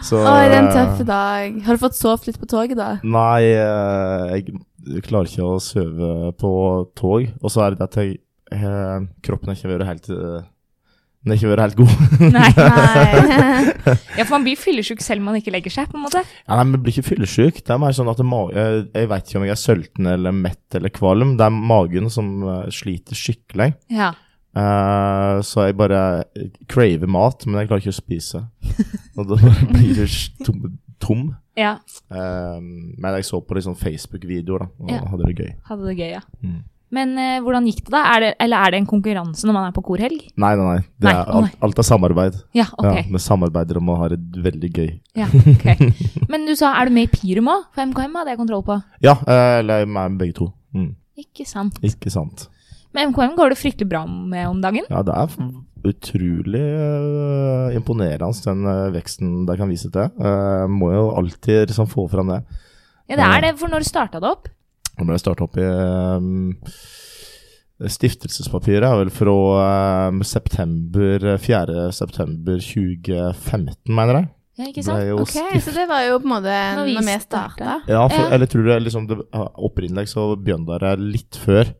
[SPEAKER 3] Så
[SPEAKER 2] Å, det er en
[SPEAKER 3] eh,
[SPEAKER 2] tøff dag. Har du fått sovet litt på toget, da?
[SPEAKER 3] Nei, eh, jeg klarer ikke å sove på tog. Og så er det at jeg, eh, kroppen har ikke vært helt eh, Den har ikke vært helt god.
[SPEAKER 1] Nei. [LAUGHS]
[SPEAKER 2] Nei.
[SPEAKER 1] Ja, for man blir fyllesyk selv om man ikke legger seg, på en måte.
[SPEAKER 3] Ja, nei, men jeg blir ikke fyllesyk. Det er mer sånn at det ma- eh, jeg vet ikke om jeg er sulten eller mett eller kvalm. Det er magen som eh, sliter skikkelig.
[SPEAKER 1] Ja.
[SPEAKER 3] Eh, så jeg bare craver mat, men jeg klarer ikke å spise. Og da bare [LAUGHS] blir du sj- tom. tom.
[SPEAKER 1] ja.
[SPEAKER 3] Eh, men jeg så på litt sånn Facebook-videoer, da, og
[SPEAKER 1] Ja.
[SPEAKER 3] hadde det gøy.
[SPEAKER 1] Hadde det gøy, ja.
[SPEAKER 3] Mm.
[SPEAKER 1] Men eh, hvordan gikk det, da? Er det, eller er det en konkurranse når man er på korhelg?
[SPEAKER 3] Nei, nei, nei. Det
[SPEAKER 1] Nei,
[SPEAKER 3] er,
[SPEAKER 1] å nei.
[SPEAKER 3] alt, alt er samarbeid.
[SPEAKER 1] Ja, ok.
[SPEAKER 3] Ja, vi samarbeider om å ha det veldig gøy.
[SPEAKER 1] Ja.
[SPEAKER 3] [LAUGHS]
[SPEAKER 1] ok. Men du sa, er du med i Pirum òg? For MKM hadde jeg kontroll på.
[SPEAKER 3] Ja, eh, eller meg begge to. Mm.
[SPEAKER 1] Ikke sant.
[SPEAKER 3] Ikke sant.
[SPEAKER 1] Med MKM går det fryktelig bra med om dagen.
[SPEAKER 3] Ja, det er f- utrolig eh, imponerende, den eh, veksten de kan vise til. Eh, må jo alltid liksom få fram det.
[SPEAKER 1] Ja, det er det, for når starta det opp?
[SPEAKER 3] Nå ble jeg starta opp i ehm, Stiftelsespapiret er vel fra ehm, september, 4. september 2015, mener jeg.
[SPEAKER 1] Ja, ikke
[SPEAKER 3] Det
[SPEAKER 1] sant?
[SPEAKER 3] er jo
[SPEAKER 1] Ok.
[SPEAKER 3] stift-
[SPEAKER 2] Så det var jo på en måte
[SPEAKER 1] Når
[SPEAKER 2] når
[SPEAKER 1] vi
[SPEAKER 2] vi,
[SPEAKER 1] startet.
[SPEAKER 2] starta.
[SPEAKER 3] Ja, for,
[SPEAKER 1] Ja.
[SPEAKER 3] eller tror du liksom det, Opprinnelig så begynte det litt før.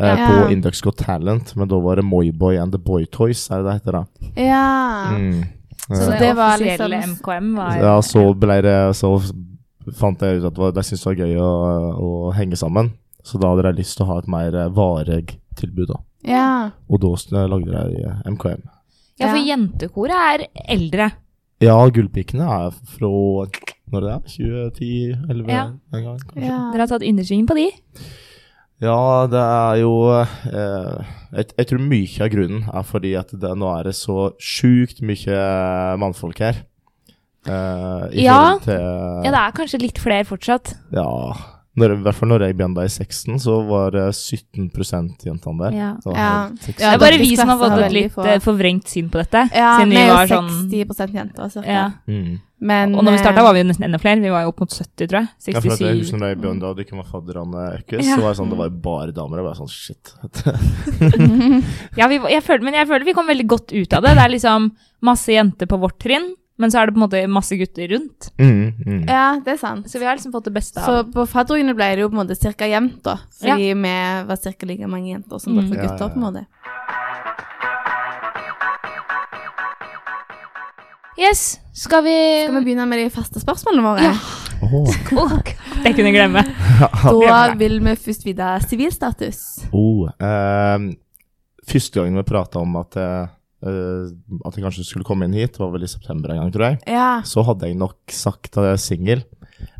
[SPEAKER 3] eh,
[SPEAKER 2] Ja.
[SPEAKER 3] På Index Got Talent, men da var det Moyboy and The Boy Toys, er det det heter da?
[SPEAKER 2] Ja.
[SPEAKER 3] Mm.
[SPEAKER 1] Så det,
[SPEAKER 3] Eh,
[SPEAKER 2] det var
[SPEAKER 1] offisielle
[SPEAKER 2] liksom-
[SPEAKER 1] MKM var
[SPEAKER 3] ja, så ble det Så fant jeg ut at det var- de syntes det var gøy å, å henge sammen. Så da hadde de lyst til å ha et mer eh, varig tilbud, da.
[SPEAKER 2] ja.
[SPEAKER 3] Og da s- lagde de eh, MKM.
[SPEAKER 1] Ja, for
[SPEAKER 2] Ja.
[SPEAKER 1] jentekoret er eldre.
[SPEAKER 3] Ja, Gullpikkene er fra når det er 2010-2011
[SPEAKER 1] Ja.
[SPEAKER 3] en gang. kanskje.
[SPEAKER 2] ja.
[SPEAKER 1] Dere har tatt innersvingen på de?
[SPEAKER 3] ja, det er jo eh, jeg, jeg tror mye av grunnen er fordi at det, nå er det så sjukt mye mannfolk her. Eh, I
[SPEAKER 1] Ja.
[SPEAKER 3] forhold til
[SPEAKER 1] Ja, det er kanskje litt flere fortsatt.
[SPEAKER 3] Ja. Når, I hvert fall når jeg begynte i 16, så var det 17 jentene der.
[SPEAKER 1] Ja.
[SPEAKER 3] Så
[SPEAKER 2] Ja.
[SPEAKER 3] helt seks-
[SPEAKER 1] Det
[SPEAKER 2] Ja,
[SPEAKER 1] er bare
[SPEAKER 2] deres
[SPEAKER 1] vi som har
[SPEAKER 2] klasse
[SPEAKER 1] fått
[SPEAKER 2] har
[SPEAKER 1] et
[SPEAKER 2] veldig
[SPEAKER 1] litt
[SPEAKER 2] få.
[SPEAKER 1] eh, forvrengt syn på dette.
[SPEAKER 2] Ja,
[SPEAKER 1] siden
[SPEAKER 2] vi
[SPEAKER 1] vi
[SPEAKER 2] er
[SPEAKER 1] var
[SPEAKER 2] jo
[SPEAKER 1] sånn
[SPEAKER 2] 60 jenter, cirka.
[SPEAKER 1] ja.
[SPEAKER 3] Mm.
[SPEAKER 2] Men
[SPEAKER 1] Og når vi starta, var vi jo nesten enda flere. Vi var jo opp mot 70, tror jeg.
[SPEAKER 3] Ja, for at jeg
[SPEAKER 1] 67.
[SPEAKER 3] husker når jeg begynte å drikke med fadderne Økkes,
[SPEAKER 1] Ja.
[SPEAKER 3] så var det sånn, det var jo bare damer. Jeg var sånn, shit. [LAUGHS]
[SPEAKER 1] Ja, vi, var- jeg føler, men jeg føler vi kom veldig godt ut av det. Det er liksom masse jenter på vårt trinn, men så er det på en måte masse gutter rundt.
[SPEAKER 3] Mm, mm.
[SPEAKER 2] eh, ja, det er sant.
[SPEAKER 1] Så vi har liksom fått det beste av
[SPEAKER 2] Så på fadderugene ble det jo på en måte cirka jevnt, da. Fordi vi var cirka like mange jenter som
[SPEAKER 1] Mm.
[SPEAKER 2] dere
[SPEAKER 3] Ja,
[SPEAKER 2] gutter,
[SPEAKER 3] ja,
[SPEAKER 2] på en måte.
[SPEAKER 1] Yes, skal vi
[SPEAKER 2] Skal vi begynne med de faste spørsmålene våre?
[SPEAKER 1] Ja.
[SPEAKER 3] Åh.
[SPEAKER 1] Det kunne jeg glemme.
[SPEAKER 2] Da
[SPEAKER 1] Ja.
[SPEAKER 2] vil vi først vite sivilstatus.
[SPEAKER 3] Oh, ehm, første gangen vi prata om at eh, eh, at jeg kanskje skulle komme inn hit, det var vel i september en gang, tror jeg,
[SPEAKER 2] Ja.
[SPEAKER 3] så hadde jeg nok sagt at jeg er singel.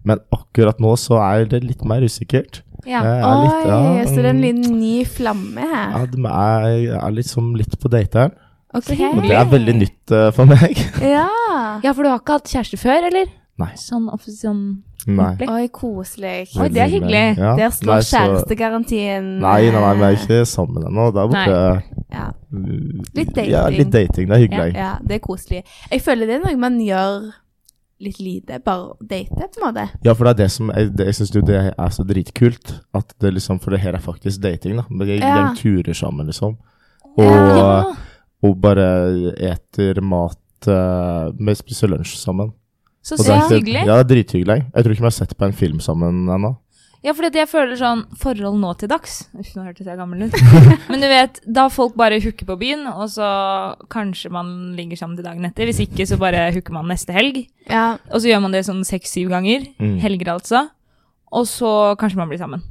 [SPEAKER 3] Men akkurat nå så er det litt mer usikkert. Eh,
[SPEAKER 1] Ja.
[SPEAKER 3] Jeg er
[SPEAKER 2] Oi,
[SPEAKER 3] litt, ja,
[SPEAKER 2] så det er en
[SPEAKER 3] mm,
[SPEAKER 2] liten ny flamme her.
[SPEAKER 3] ja, de er, jeg er liksom litt på dateren.
[SPEAKER 2] Ok.
[SPEAKER 3] Men det er veldig nytt eh, for meg. [LAUGHS]
[SPEAKER 2] Ja.
[SPEAKER 1] Ja, for du har ikke hatt kjæreste før, eller?
[SPEAKER 3] Nei.
[SPEAKER 1] Sånn offis- sånn
[SPEAKER 3] Nei.
[SPEAKER 1] ordentlig?
[SPEAKER 2] Oi, koselig.
[SPEAKER 1] Oi, det er hyggelig.
[SPEAKER 3] Ja.
[SPEAKER 2] Der
[SPEAKER 3] Nei,
[SPEAKER 2] slår
[SPEAKER 3] så-
[SPEAKER 2] kjærestegarantien.
[SPEAKER 3] Nei, nei, nei, vi er
[SPEAKER 2] eh,
[SPEAKER 3] ikke sammen ennå. Det er borte
[SPEAKER 2] Ja.
[SPEAKER 3] uh,
[SPEAKER 2] Litt dating.
[SPEAKER 3] Ja, litt dating. Det er hyggelig.
[SPEAKER 2] Ja, det er koselig. Jeg føler det er noe man gjør litt lite, bare date, på en måte.
[SPEAKER 3] Ja, for det er det som Jeg, det- jeg syns jo det er så dritkult. At det liksom For det her er faktisk dating, da. Men jeg,
[SPEAKER 2] Ja.
[SPEAKER 3] jeg turer sammen, liksom. Og,
[SPEAKER 1] Ja.
[SPEAKER 3] og bare eter mat eh, med spiser lunsj sammen.
[SPEAKER 1] Så
[SPEAKER 3] Og det er
[SPEAKER 1] sykt
[SPEAKER 3] ikke-
[SPEAKER 1] hyggelig.
[SPEAKER 3] Ja, det er drithyggelig. Jeg tror ikke vi har sett på en film sammen ennå.
[SPEAKER 1] Ja, fordi at jeg føler sånn forhold nå til dags. Uff, nå hørtes jeg gammel
[SPEAKER 3] [LAUGHS]
[SPEAKER 1] ut. Men du vet, da folk bare hooker på byen, og så kanskje man ligger sammen til dagen etter. Hvis ikke, så bare hooker man neste helg.
[SPEAKER 2] Ja.
[SPEAKER 1] Og så gjør man det sånn seks-syv ganger.
[SPEAKER 3] Mm.
[SPEAKER 1] Helger, altså. Og så kanskje man blir sammen.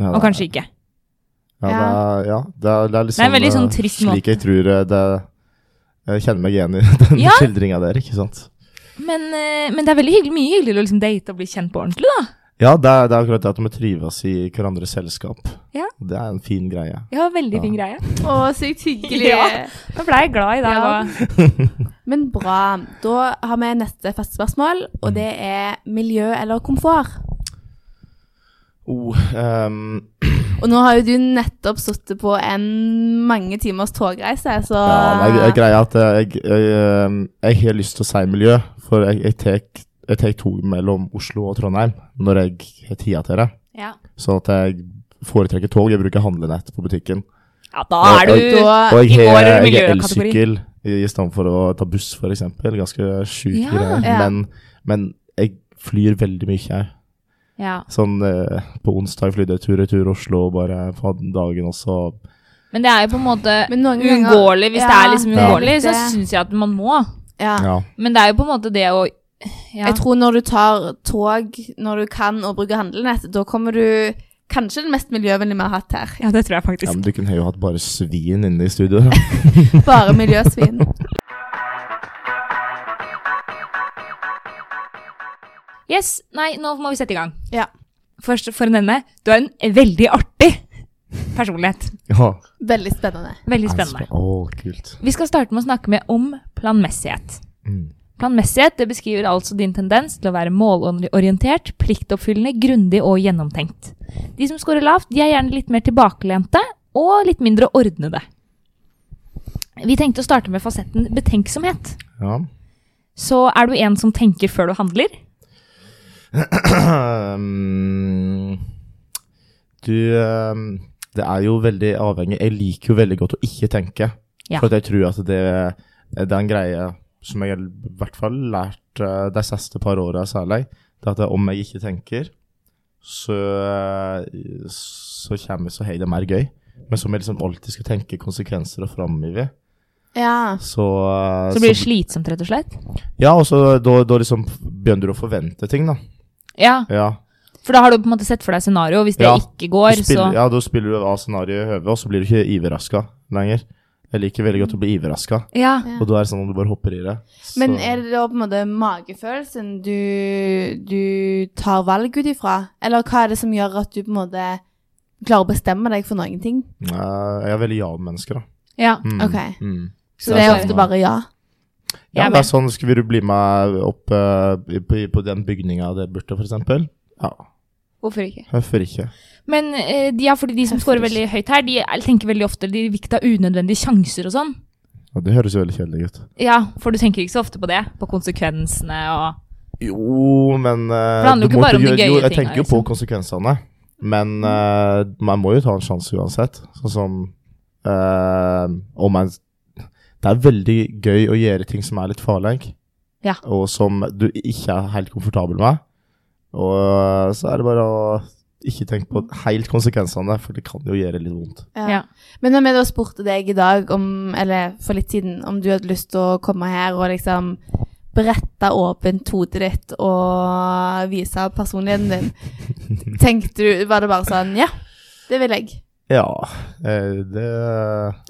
[SPEAKER 3] Ja,
[SPEAKER 1] Og kanskje ikke.
[SPEAKER 3] Ja, det er, ja, det er, det er liksom
[SPEAKER 1] Det er en veldig sånn
[SPEAKER 3] eh,
[SPEAKER 1] trist
[SPEAKER 3] Slik jeg tror eh, det Jeg kjenner meg igjen i [LAUGHS] den
[SPEAKER 1] Ja.
[SPEAKER 3] skildringa der, ikke sant?
[SPEAKER 1] Men, eh, men det er veldig hyggelig, mye hyggeligere å liksom date og bli kjent på ordentlig, da.
[SPEAKER 3] Ja, det er, det er akkurat det at de må trives i hverandres selskap.
[SPEAKER 1] Ja.
[SPEAKER 3] Det er en fin greie.
[SPEAKER 1] Ja, veldig
[SPEAKER 3] Ja.
[SPEAKER 1] fin greie.
[SPEAKER 2] Å, sykt hyggelig.
[SPEAKER 1] Ja. Nå ble jeg glad i deg.
[SPEAKER 2] Ja.
[SPEAKER 1] da.
[SPEAKER 2] Men bra. Da har vi neste faste spørsmål, og det er miljø eller komfort.
[SPEAKER 3] Oh, ehm,
[SPEAKER 2] Og nå har jo du nettopp sittet på en mange timers togreise, så
[SPEAKER 3] ja, nei, jeg- greia er at eh, jeg, jeg, ehm, jeg har lyst til å si miljø, for jeg, jeg tek, jeg tek tog mellom Oslo og Trondheim når jeg har tida til det.
[SPEAKER 2] Ja.
[SPEAKER 3] Så at jeg foretrekker tog, jeg bruker handlenett på butikken.
[SPEAKER 1] Ja, da
[SPEAKER 3] Og-
[SPEAKER 1] er du
[SPEAKER 2] Da,
[SPEAKER 1] Ah, I
[SPEAKER 3] Og jeg
[SPEAKER 1] går er
[SPEAKER 3] har
[SPEAKER 1] det
[SPEAKER 3] jeg har
[SPEAKER 1] miljøkategori.
[SPEAKER 3] elsykkel i i stedet for å ta buss, for eksempel. Ganske sjuke
[SPEAKER 1] Ja.
[SPEAKER 3] greier.
[SPEAKER 2] Ja.
[SPEAKER 3] Men, men jeg flyr veldig mye. Jeg.
[SPEAKER 1] Ja.
[SPEAKER 3] Sånn eh, på onsdag flydde jeg tur-retur Oslo, bare på dagen også.
[SPEAKER 1] Ah, Men det er jo på en måte
[SPEAKER 2] Men noen ganger-
[SPEAKER 1] uunngåelig. Hvis
[SPEAKER 2] Ja,
[SPEAKER 1] det er liksom
[SPEAKER 3] det er
[SPEAKER 1] uunngåelig,
[SPEAKER 2] litt
[SPEAKER 1] så
[SPEAKER 2] det.
[SPEAKER 1] syns jeg at man må.
[SPEAKER 2] ja.
[SPEAKER 3] Ja.
[SPEAKER 1] Men det er jo på en måte det å ja.
[SPEAKER 2] Jeg tror når du tar tog når du kan og bruker handlenett, da kommer du kanskje den mest miljøvennlige vi har
[SPEAKER 1] [LAUGHS]
[SPEAKER 2] hatt her.
[SPEAKER 1] ja, det tror jeg
[SPEAKER 3] ja,
[SPEAKER 1] faktisk.
[SPEAKER 3] men du kunne jo hatt bare svin inne i studio. [LAUGHS] da.
[SPEAKER 2] Bare miljøsvin.
[SPEAKER 1] Yes, nei, nå må vi sette i gang.
[SPEAKER 2] Ja.
[SPEAKER 1] Først for å nevne, du er en veldig artig personlighet.
[SPEAKER 3] ja.
[SPEAKER 2] Veldig spennende.
[SPEAKER 1] Veldig spennende.
[SPEAKER 3] Å, kult.
[SPEAKER 1] Vi skal starte med å snakke med om planmessighet.
[SPEAKER 3] Mm.
[SPEAKER 1] Planmessighet det beskriver altså din tendens til å være målorientert, pliktoppfyllende, grundig og gjennomtenkt. De som scorer lavt, de er gjerne litt mer tilbakelente og litt mindre ordnede. Vi tenkte å starte med fasetten betenksomhet.
[SPEAKER 3] Ja.
[SPEAKER 1] Så er du en som tenker før du handler?
[SPEAKER 3] [CLEARS THROAT] Mm. du ehm, Det er jo veldig avhengig Jeg liker jo veldig godt å ikke tenke.
[SPEAKER 1] Ja.
[SPEAKER 3] For at jeg tror at det, det er en greie som jeg i hvert fall har lært eh, de siste par åra særlig. Det er at om jeg ikke tenker, så, eh, så kommer så har jeg det mer gøy. Men som jeg liksom alltid skal tenke konsekvenser og framover,
[SPEAKER 2] Ja.
[SPEAKER 3] så eh,
[SPEAKER 1] Så blir det slitsomt, rett og slett?
[SPEAKER 3] Ja, og så da, da liksom begynner du å forvente ting, da.
[SPEAKER 1] Ja,
[SPEAKER 3] Ja.
[SPEAKER 1] for da har du på en måte sett for deg scenario, og hvis det
[SPEAKER 3] Ja,
[SPEAKER 1] ikke går,
[SPEAKER 3] Du spiller,
[SPEAKER 1] så
[SPEAKER 3] Ja, da spiller du av scenarioet i høvet, og så blir du ikke iverraska lenger. Jeg liker veldig godt å bli iverraska,
[SPEAKER 1] Ja.
[SPEAKER 2] Ja.
[SPEAKER 3] og da er det sånn at du bare hopper i det. Så-
[SPEAKER 2] Men er det da på en måte magefølelsen du, du tar valg ut ifra? Eller hva er det som gjør at du på en måte klarer å bestemme deg for noen ting?
[SPEAKER 3] Nei, Jeg er veldig ja-menneske, da.
[SPEAKER 1] ja.
[SPEAKER 3] Mm,
[SPEAKER 2] Ok.
[SPEAKER 3] Mm.
[SPEAKER 2] Så det er
[SPEAKER 3] sånn-
[SPEAKER 2] ofte bare ja.
[SPEAKER 3] Ja,
[SPEAKER 1] Jeg
[SPEAKER 3] det er sånn Skal du bli med opp eh, i- på, på den bygninga der borte, for eksempel? Ja,
[SPEAKER 1] Hvorfor ikke?
[SPEAKER 3] hvorfor ikke?
[SPEAKER 1] Men eh, de, ja, fordi de som scorer veldig høyt her, de er- tenker veldig ofte de vikter unødvendige sjanser og sånn.
[SPEAKER 3] Ja, det høres jo veldig kjedelig ut.
[SPEAKER 1] Ja, for du tenker ikke så ofte på det, på konsekvensene og
[SPEAKER 3] Jo, men eh,
[SPEAKER 1] det handler jo
[SPEAKER 3] du
[SPEAKER 1] ikke
[SPEAKER 3] må
[SPEAKER 1] bare om de
[SPEAKER 3] gjøre-
[SPEAKER 1] gøye
[SPEAKER 3] jo, Jeg
[SPEAKER 1] tingene, liksom.
[SPEAKER 3] tenker jo på konsekvensene, men eh, man må jo ta en sjanse uansett. Sånn som eh, om man Det er veldig gøy å gjøre ting som er litt farlig,
[SPEAKER 1] Ja.
[SPEAKER 3] og som du ikke er helt komfortabel med. Og eh, så er det bare å ikke tenke på helt konsekvensene, for det kan jo gjøre litt vondt.
[SPEAKER 2] ja.
[SPEAKER 1] Ja.
[SPEAKER 2] Men når vi da spurte deg i dag, om, eller for litt siden, om du hadde lyst til å komme her og liksom berette åpent hodet ditt og vise personligheten din, tenkte du, var det bare sånn, ja, det vil jeg.
[SPEAKER 3] Ja, eh, det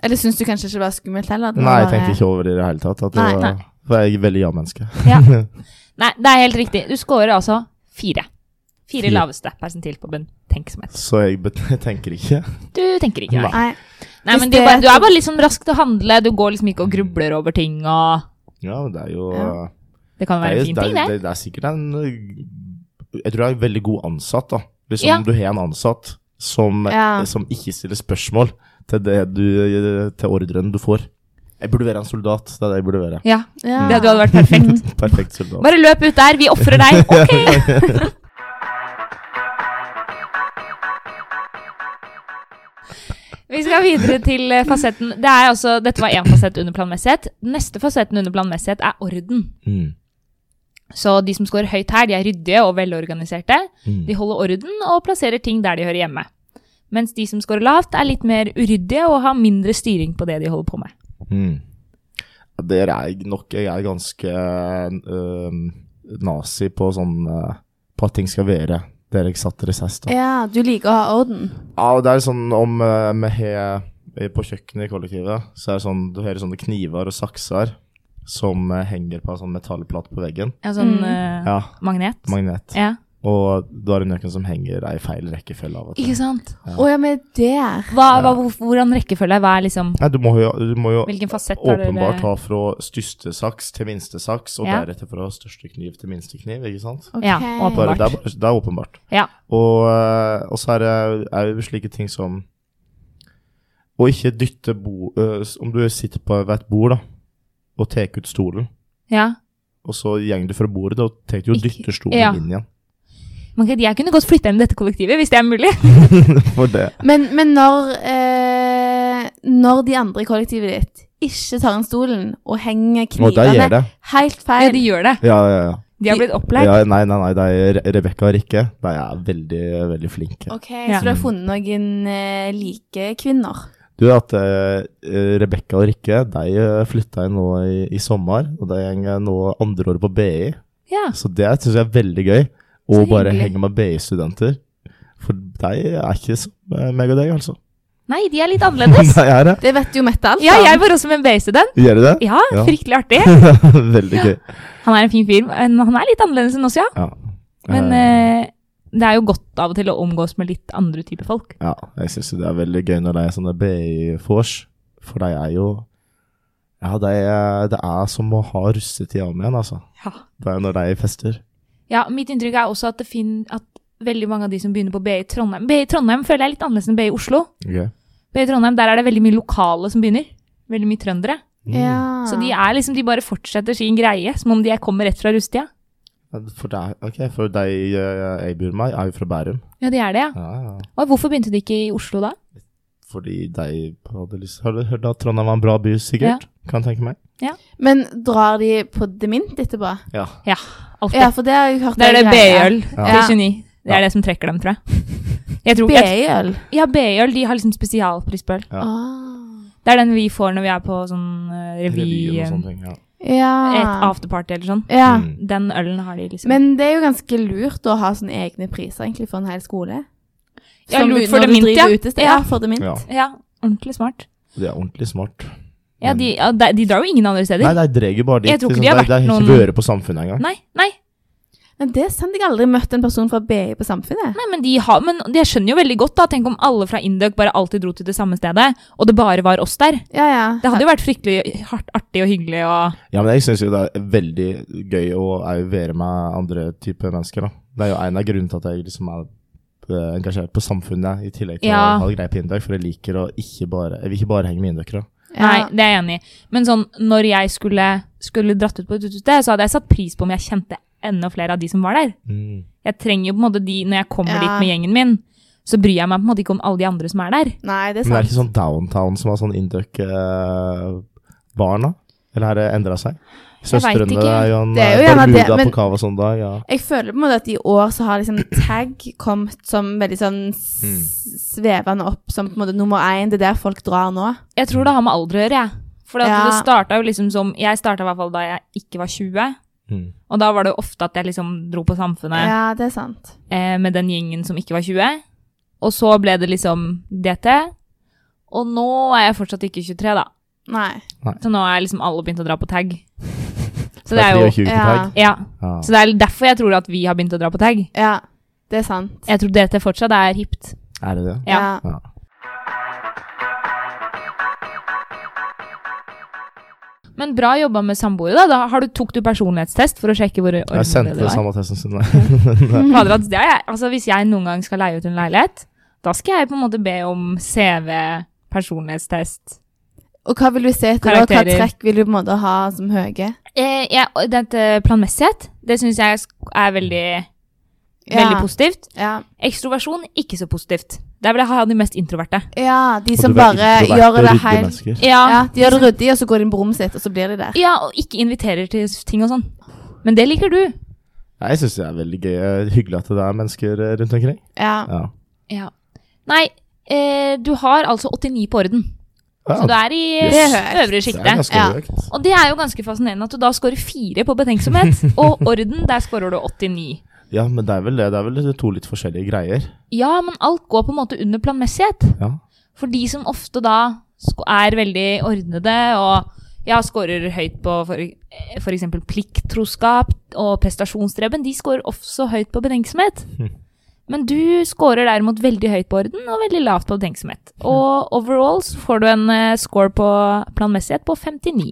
[SPEAKER 2] Eller syns du kanskje ikke det var skummelt heller? Det var
[SPEAKER 3] Nei, jeg
[SPEAKER 2] bare-
[SPEAKER 3] tenkte ikke over det i det hele tatt. At det
[SPEAKER 2] Nei,
[SPEAKER 3] var,
[SPEAKER 1] nei.
[SPEAKER 3] For jeg er veldig ja-menneske.
[SPEAKER 1] Ja. Nei, det er helt riktig. Du scorer altså fire. Fire
[SPEAKER 3] Fire.
[SPEAKER 1] laveste persentil på bentenksomhet.
[SPEAKER 3] Så jeg bet- [LAUGHS] tenker ikke.
[SPEAKER 1] Du tenker ikke det.
[SPEAKER 2] Nei.
[SPEAKER 1] Nei,
[SPEAKER 2] Hvis
[SPEAKER 1] men du,
[SPEAKER 2] det-
[SPEAKER 1] bare, du er bare litt sånn rask til å handle. Du går liksom ikke og grubler over ting og
[SPEAKER 3] Ja, men det er jo
[SPEAKER 2] Ja.
[SPEAKER 1] Det kan være
[SPEAKER 3] det, er,
[SPEAKER 1] en
[SPEAKER 3] jo-
[SPEAKER 1] fin
[SPEAKER 3] det,
[SPEAKER 1] ting,
[SPEAKER 3] er,
[SPEAKER 1] det.
[SPEAKER 3] det, det er sikkert en øh, Jeg tror jeg er en veldig god ansatt, da. Hvis
[SPEAKER 1] Ja.
[SPEAKER 3] du har en ansatt som,
[SPEAKER 2] Ja.
[SPEAKER 3] som ikke stiller spørsmål til, det du, til ordren du får. Jeg burde være en soldat. Det er det jeg burde være.
[SPEAKER 1] Ja.
[SPEAKER 2] Ja.
[SPEAKER 1] Det, du hadde vært perfekt.
[SPEAKER 3] [LAUGHS] Perfekt soldat.
[SPEAKER 1] Bare løp ut der, vi ofrer deg. Ok! Vi skal videre til eh, fasetten. Det er altså, dette var én fasett under planmessighet. Den Neste fasetten under planmessighet er orden.
[SPEAKER 3] Mm.
[SPEAKER 1] Så de som scorer høyt her, de er ryddige og velorganiserte.
[SPEAKER 3] Mm.
[SPEAKER 1] De holder orden og plasserer ting der de hører hjemme. Mens de som scorer lavt, er litt mer uryddige og har mindre styring på det de holder på med.
[SPEAKER 3] Mm. Der er jeg nok Jeg er ganske øhm, nazi på sånn øh, På at ting skal være der jeg satt dere sist. da.
[SPEAKER 2] Ja, du liker å ha orden.
[SPEAKER 3] Ja, og det er sånn om eh, vi har på kjøkkenet i kollektivet, så er det sånn, du har sånne kniver og sakser som eh, henger på en sånn metallplate på veggen.
[SPEAKER 1] Ja, sånn
[SPEAKER 2] Mm.
[SPEAKER 1] eh,
[SPEAKER 3] Ja,
[SPEAKER 1] magnet.
[SPEAKER 3] magnet.
[SPEAKER 1] ja.
[SPEAKER 3] Og da er det noen som henger i feil rekkefølge av og til.
[SPEAKER 1] Ikke sant?
[SPEAKER 2] Å ja, men der.
[SPEAKER 1] Hva, hva, hvor- hvordan rekkefølge? Hva er liksom
[SPEAKER 3] Nei, du må jo, du må jo
[SPEAKER 1] Hvilken fasett er det?
[SPEAKER 3] åpenbart ta fra største saks til minste saks, og
[SPEAKER 1] Ja.
[SPEAKER 3] deretter fra største kniv til minste kniv, ikke sant?
[SPEAKER 2] Ok.
[SPEAKER 1] Ja, åpenbart.
[SPEAKER 3] Bare, det, er, bare- det er åpenbart.
[SPEAKER 1] Ja.
[SPEAKER 3] Og, eh, og så er det, er det slike ting som å ikke dytte bo, eh, s- Om du sitter på ved et bord da, og tar ut stolen,
[SPEAKER 1] Ja.
[SPEAKER 3] og så går du fra bordet da, og tar du og
[SPEAKER 1] Ikke-
[SPEAKER 3] dytter stolen
[SPEAKER 1] ja.
[SPEAKER 3] inn igjen.
[SPEAKER 1] Man kan, jeg kunne godt flytta inn i dette kollektivet, hvis det er mulig.
[SPEAKER 3] [LAUGHS] For det.
[SPEAKER 2] Men, men når, eh, når de andre i kollektivet ditt ikke tar inn stolen og henger
[SPEAKER 3] Og det gjør
[SPEAKER 2] knivene
[SPEAKER 3] det.
[SPEAKER 2] helt
[SPEAKER 1] Ja,
[SPEAKER 2] feil
[SPEAKER 1] de gjør det.
[SPEAKER 3] Ja, ja, ja.
[SPEAKER 1] De har blitt opplært.
[SPEAKER 3] ja nei, nei, nei, det er Re- Rebekka og Rikke. De er veldig, veldig flinke.
[SPEAKER 2] Ok,
[SPEAKER 1] Ja.
[SPEAKER 2] Så du har funnet noen eh, like kvinner?
[SPEAKER 3] Du vet at eh, Rebekka og Rikke de flytta inn nå i, i sommer, og de går nå andre året på BI.
[SPEAKER 1] Ja.
[SPEAKER 3] Så det syns jeg er veldig gøy. Å
[SPEAKER 1] Så
[SPEAKER 3] bare
[SPEAKER 1] hyggelig.
[SPEAKER 3] henge med BI-studenter. For de er ikke som eh, meg og deg, altså.
[SPEAKER 1] Nei, de er litt
[SPEAKER 3] De [LAUGHS]
[SPEAKER 1] annerledes.
[SPEAKER 3] er det.
[SPEAKER 2] Det vet jo Mette alt
[SPEAKER 1] Ja, jeg var også med en BI-student.
[SPEAKER 3] Gjør de det?
[SPEAKER 1] Ja,
[SPEAKER 3] Ja.
[SPEAKER 1] fryktelig artig.
[SPEAKER 3] [LAUGHS] veldig gøy.
[SPEAKER 1] Han er en fin fyr, men han er litt annerledes enn oss, ja.
[SPEAKER 3] Ja.
[SPEAKER 1] Men
[SPEAKER 3] Eh,
[SPEAKER 1] eh, det er jo godt av og til å omgås med litt andre typer folk.
[SPEAKER 3] Ja, jeg syns det er veldig gøy når de er sånne BI-vors, for de er jo Ja, de er, det er som å ha russetida om igjen, altså.
[SPEAKER 1] Ja.
[SPEAKER 3] Det er når de fester.
[SPEAKER 1] ja, mitt inntrykk er også at, det fin at veldig mange av de som begynner på BI i Trondheim BI i Trondheim føler jeg er litt annerledes enn BI i Oslo.
[SPEAKER 3] Gøy.
[SPEAKER 1] BI i Trondheim, der er det veldig mye lokale som begynner. Veldig mye trøndere.
[SPEAKER 3] Mm.
[SPEAKER 2] Ja.
[SPEAKER 1] Så de er liksom, de bare fortsetter sin greie, som om de er- kommer rett fra rustida.
[SPEAKER 3] For de, ok, for de eh, jeg bor med, er jo fra Bærum.
[SPEAKER 1] Ja, de er det, ja.
[SPEAKER 3] Ja, ja.
[SPEAKER 1] Og hvorfor begynte de ikke i Oslo da?
[SPEAKER 3] Fordi de hadde lyst Har du hørt at Trondheim var en bra by, sikkert? Kan jeg tenke meg.
[SPEAKER 2] Men drar de på demint etterpå?
[SPEAKER 3] Ja.
[SPEAKER 1] Ja, alltid.
[SPEAKER 2] Ja, for det har jeg hørt
[SPEAKER 1] det er det BI-øl
[SPEAKER 3] Ja.
[SPEAKER 1] til 29. Det er
[SPEAKER 3] Ja.
[SPEAKER 1] det som trekker dem, tror [LAUGHS] jeg. jeg tror, jeg
[SPEAKER 2] BI-øl?
[SPEAKER 1] ja, BI-øl, de har liksom spesialprisbøl.
[SPEAKER 3] Ja.
[SPEAKER 2] Ah.
[SPEAKER 1] Det er den vi får når vi er på sånn eh, revy,
[SPEAKER 3] Revyen og sånn.
[SPEAKER 1] eh,
[SPEAKER 3] sånne ting. Ja.
[SPEAKER 1] et
[SPEAKER 2] Ja.
[SPEAKER 1] afterparty eller sånn.
[SPEAKER 2] ja.
[SPEAKER 3] Mm.
[SPEAKER 1] Den ølen har de liksom.
[SPEAKER 2] Men det er jo ganske lurt å ha sånne egne priser egentlig for en hel skole.
[SPEAKER 1] Ja,
[SPEAKER 2] Som
[SPEAKER 1] lurt
[SPEAKER 2] du-
[SPEAKER 1] for
[SPEAKER 2] når du
[SPEAKER 1] demint,
[SPEAKER 2] driver
[SPEAKER 1] ja.
[SPEAKER 2] utested.
[SPEAKER 1] Ja.
[SPEAKER 2] Ja, for demint.
[SPEAKER 3] ja.
[SPEAKER 1] ja, ordentlig smart.
[SPEAKER 3] Det er ordentlig smart.
[SPEAKER 1] Ja,
[SPEAKER 3] Men-
[SPEAKER 1] de, ja, de, de drar jo ingen andre steder.
[SPEAKER 3] Nei, de drar jo bare liksom. dit.
[SPEAKER 1] Jeg tror ikke de har vært
[SPEAKER 3] de, har
[SPEAKER 1] noen-
[SPEAKER 3] ikke vært på Samfunnet engang.
[SPEAKER 1] Nei, nei,
[SPEAKER 2] Men det er sant, jeg har aldri møtt en person fra BI på Samfunnet.
[SPEAKER 1] nei men, de har, men jeg skjønner jo veldig godt da. Tenk om alle fra Induc bare alltid dro til det samme stedet, og det bare var oss der.
[SPEAKER 2] Ja, ja.
[SPEAKER 1] Det hadde jo vært fryktelig hardt, artig og hyggelig og
[SPEAKER 3] Ja, men jeg syns jo det er veldig gøy å er jo være med andre typer mennesker, da. Det er jo en av grunnene til at jeg liksom er eh, engasjert på Samfunnet, i tillegg til
[SPEAKER 1] Ja.
[SPEAKER 3] å ha det greit på Indøk, for jeg liker å ikke bare Jeg vil ikke bare henge med indøkere.
[SPEAKER 1] Nei, det er jeg enig i. Men sånn, når jeg skulle, skulle dratt ut på et utested, så hadde jeg satt pris på om jeg kjente enda flere av de som var der.
[SPEAKER 3] Mm.
[SPEAKER 1] Jeg trenger jo på en måte de, Når jeg kommer
[SPEAKER 2] Ja.
[SPEAKER 1] dit med gjengen min, så bryr jeg meg på en måte ikke om alle de andre som er der.
[SPEAKER 2] Nei, det er
[SPEAKER 3] Men det er
[SPEAKER 2] sant.
[SPEAKER 3] ikke sånn downtown som har sånn Indøk-barn, da? Eller har det endra seg?
[SPEAKER 1] Jeg vet
[SPEAKER 3] Søstrene
[SPEAKER 1] ikke.
[SPEAKER 3] er jo en
[SPEAKER 2] Det er jo
[SPEAKER 3] eh,
[SPEAKER 2] gjerne det,
[SPEAKER 3] Bermuda
[SPEAKER 2] men-
[SPEAKER 3] på Cava sånn dag, ja.
[SPEAKER 2] Jeg føler på en måte at i år så har
[SPEAKER 3] [CLEARS THROAT]
[SPEAKER 2] liksom tag kommet som veldig sånn s-
[SPEAKER 3] Mm.
[SPEAKER 2] svevende opp som på en måte nummer én. Det er der folk drar nå.
[SPEAKER 1] Jeg tror det har med alder å gjøre, jeg. For at
[SPEAKER 2] Ja.
[SPEAKER 1] det starta jo liksom som Jeg starta i hvert fall da jeg ikke var 20.
[SPEAKER 3] Mm.
[SPEAKER 1] Og da var det jo ofte at jeg liksom dro på Samfunnet
[SPEAKER 2] Ja, det er sant.
[SPEAKER 1] eh, med den gjengen som ikke var 20. Og så ble det liksom DT. Og nå er jeg fortsatt ikke 23, da.
[SPEAKER 2] Nei.
[SPEAKER 1] Så nå er liksom alle begynt å dra på tag. Så
[SPEAKER 3] Det er
[SPEAKER 1] jo
[SPEAKER 3] 23
[SPEAKER 2] Ja.
[SPEAKER 3] tag.
[SPEAKER 1] Ja.
[SPEAKER 3] Ja.
[SPEAKER 1] Så det er derfor jeg tror at vi har begynt å dra på tag.
[SPEAKER 2] Ja, det er sant.
[SPEAKER 1] Jeg tror DT fortsatt er hipt.
[SPEAKER 3] Er det det?
[SPEAKER 1] Ja.
[SPEAKER 2] Ja.
[SPEAKER 3] Ja.
[SPEAKER 1] Men bra jobba med samboere, da. da har du, tok du personlighetstest for å sjekke hvor ordentlig
[SPEAKER 3] Jeg sendte sånn.
[SPEAKER 1] det
[SPEAKER 3] det
[SPEAKER 1] var?
[SPEAKER 3] samme testen som deg.
[SPEAKER 1] Fader, at det er jeg. Altså, hvis jeg noen gang skal leie ut en leilighet, da skal jeg på en måte be om CV, personlighetstest.
[SPEAKER 2] Og hva vil du se etter? Og hva
[SPEAKER 1] Karakterer.
[SPEAKER 2] trekk vil du på en måte ha som høye?
[SPEAKER 1] Eh, jeg- og dette planmessighet, det syns jeg sk- er veldig, veldig
[SPEAKER 2] Ja.
[SPEAKER 1] positivt.
[SPEAKER 2] Ja.
[SPEAKER 1] Ekstroversjon, ikke så positivt. Der vil jeg ha de mest introverte.
[SPEAKER 2] ja, de
[SPEAKER 3] Og
[SPEAKER 2] som
[SPEAKER 3] du ble
[SPEAKER 2] bare
[SPEAKER 3] introverte,
[SPEAKER 2] gjør det
[SPEAKER 3] ryddige
[SPEAKER 2] helt
[SPEAKER 3] mennesker.
[SPEAKER 2] ja, De gjør det ryddig, og så går de inn på rommet sitt, og så blir de der.
[SPEAKER 1] Ja, og ikke inviterer til ting og sånn. Men det liker du.
[SPEAKER 3] Nei, Jeg syns det er veldig gøy. eh, Hyggelig at det er mennesker eh, rundt omkring.
[SPEAKER 2] Ja.
[SPEAKER 3] Ja.
[SPEAKER 1] Ja. Nei, eh, du har altså 89 på orden.
[SPEAKER 3] Ja,
[SPEAKER 1] Så du er i
[SPEAKER 3] Yes.
[SPEAKER 1] eh, øvre
[SPEAKER 3] det er
[SPEAKER 1] sjiktet.
[SPEAKER 3] ganske
[SPEAKER 2] Ja.
[SPEAKER 3] høyt.
[SPEAKER 1] Og det er jo ganske fascinerende at du da scorer fire på betenksomhet,
[SPEAKER 3] [LAUGHS]
[SPEAKER 1] og orden, der scorer du 89.
[SPEAKER 3] Ja, men det er vel det. Det er vel to litt forskjellige greier.
[SPEAKER 1] Ja, men alt går på en måte under planmessighet.
[SPEAKER 3] Ja.
[SPEAKER 1] For de som ofte da sk- er veldig ordnede og ja, scorer høyt på for, eh, for eksempel plikttroskap og prestasjonsstreben, de scorer også høyt på betenksomhet. Men du scorer derimot veldig høyt på orden og veldig lavt på betenksomhet. Og overall så får du en eh, score på planmessighet på 59.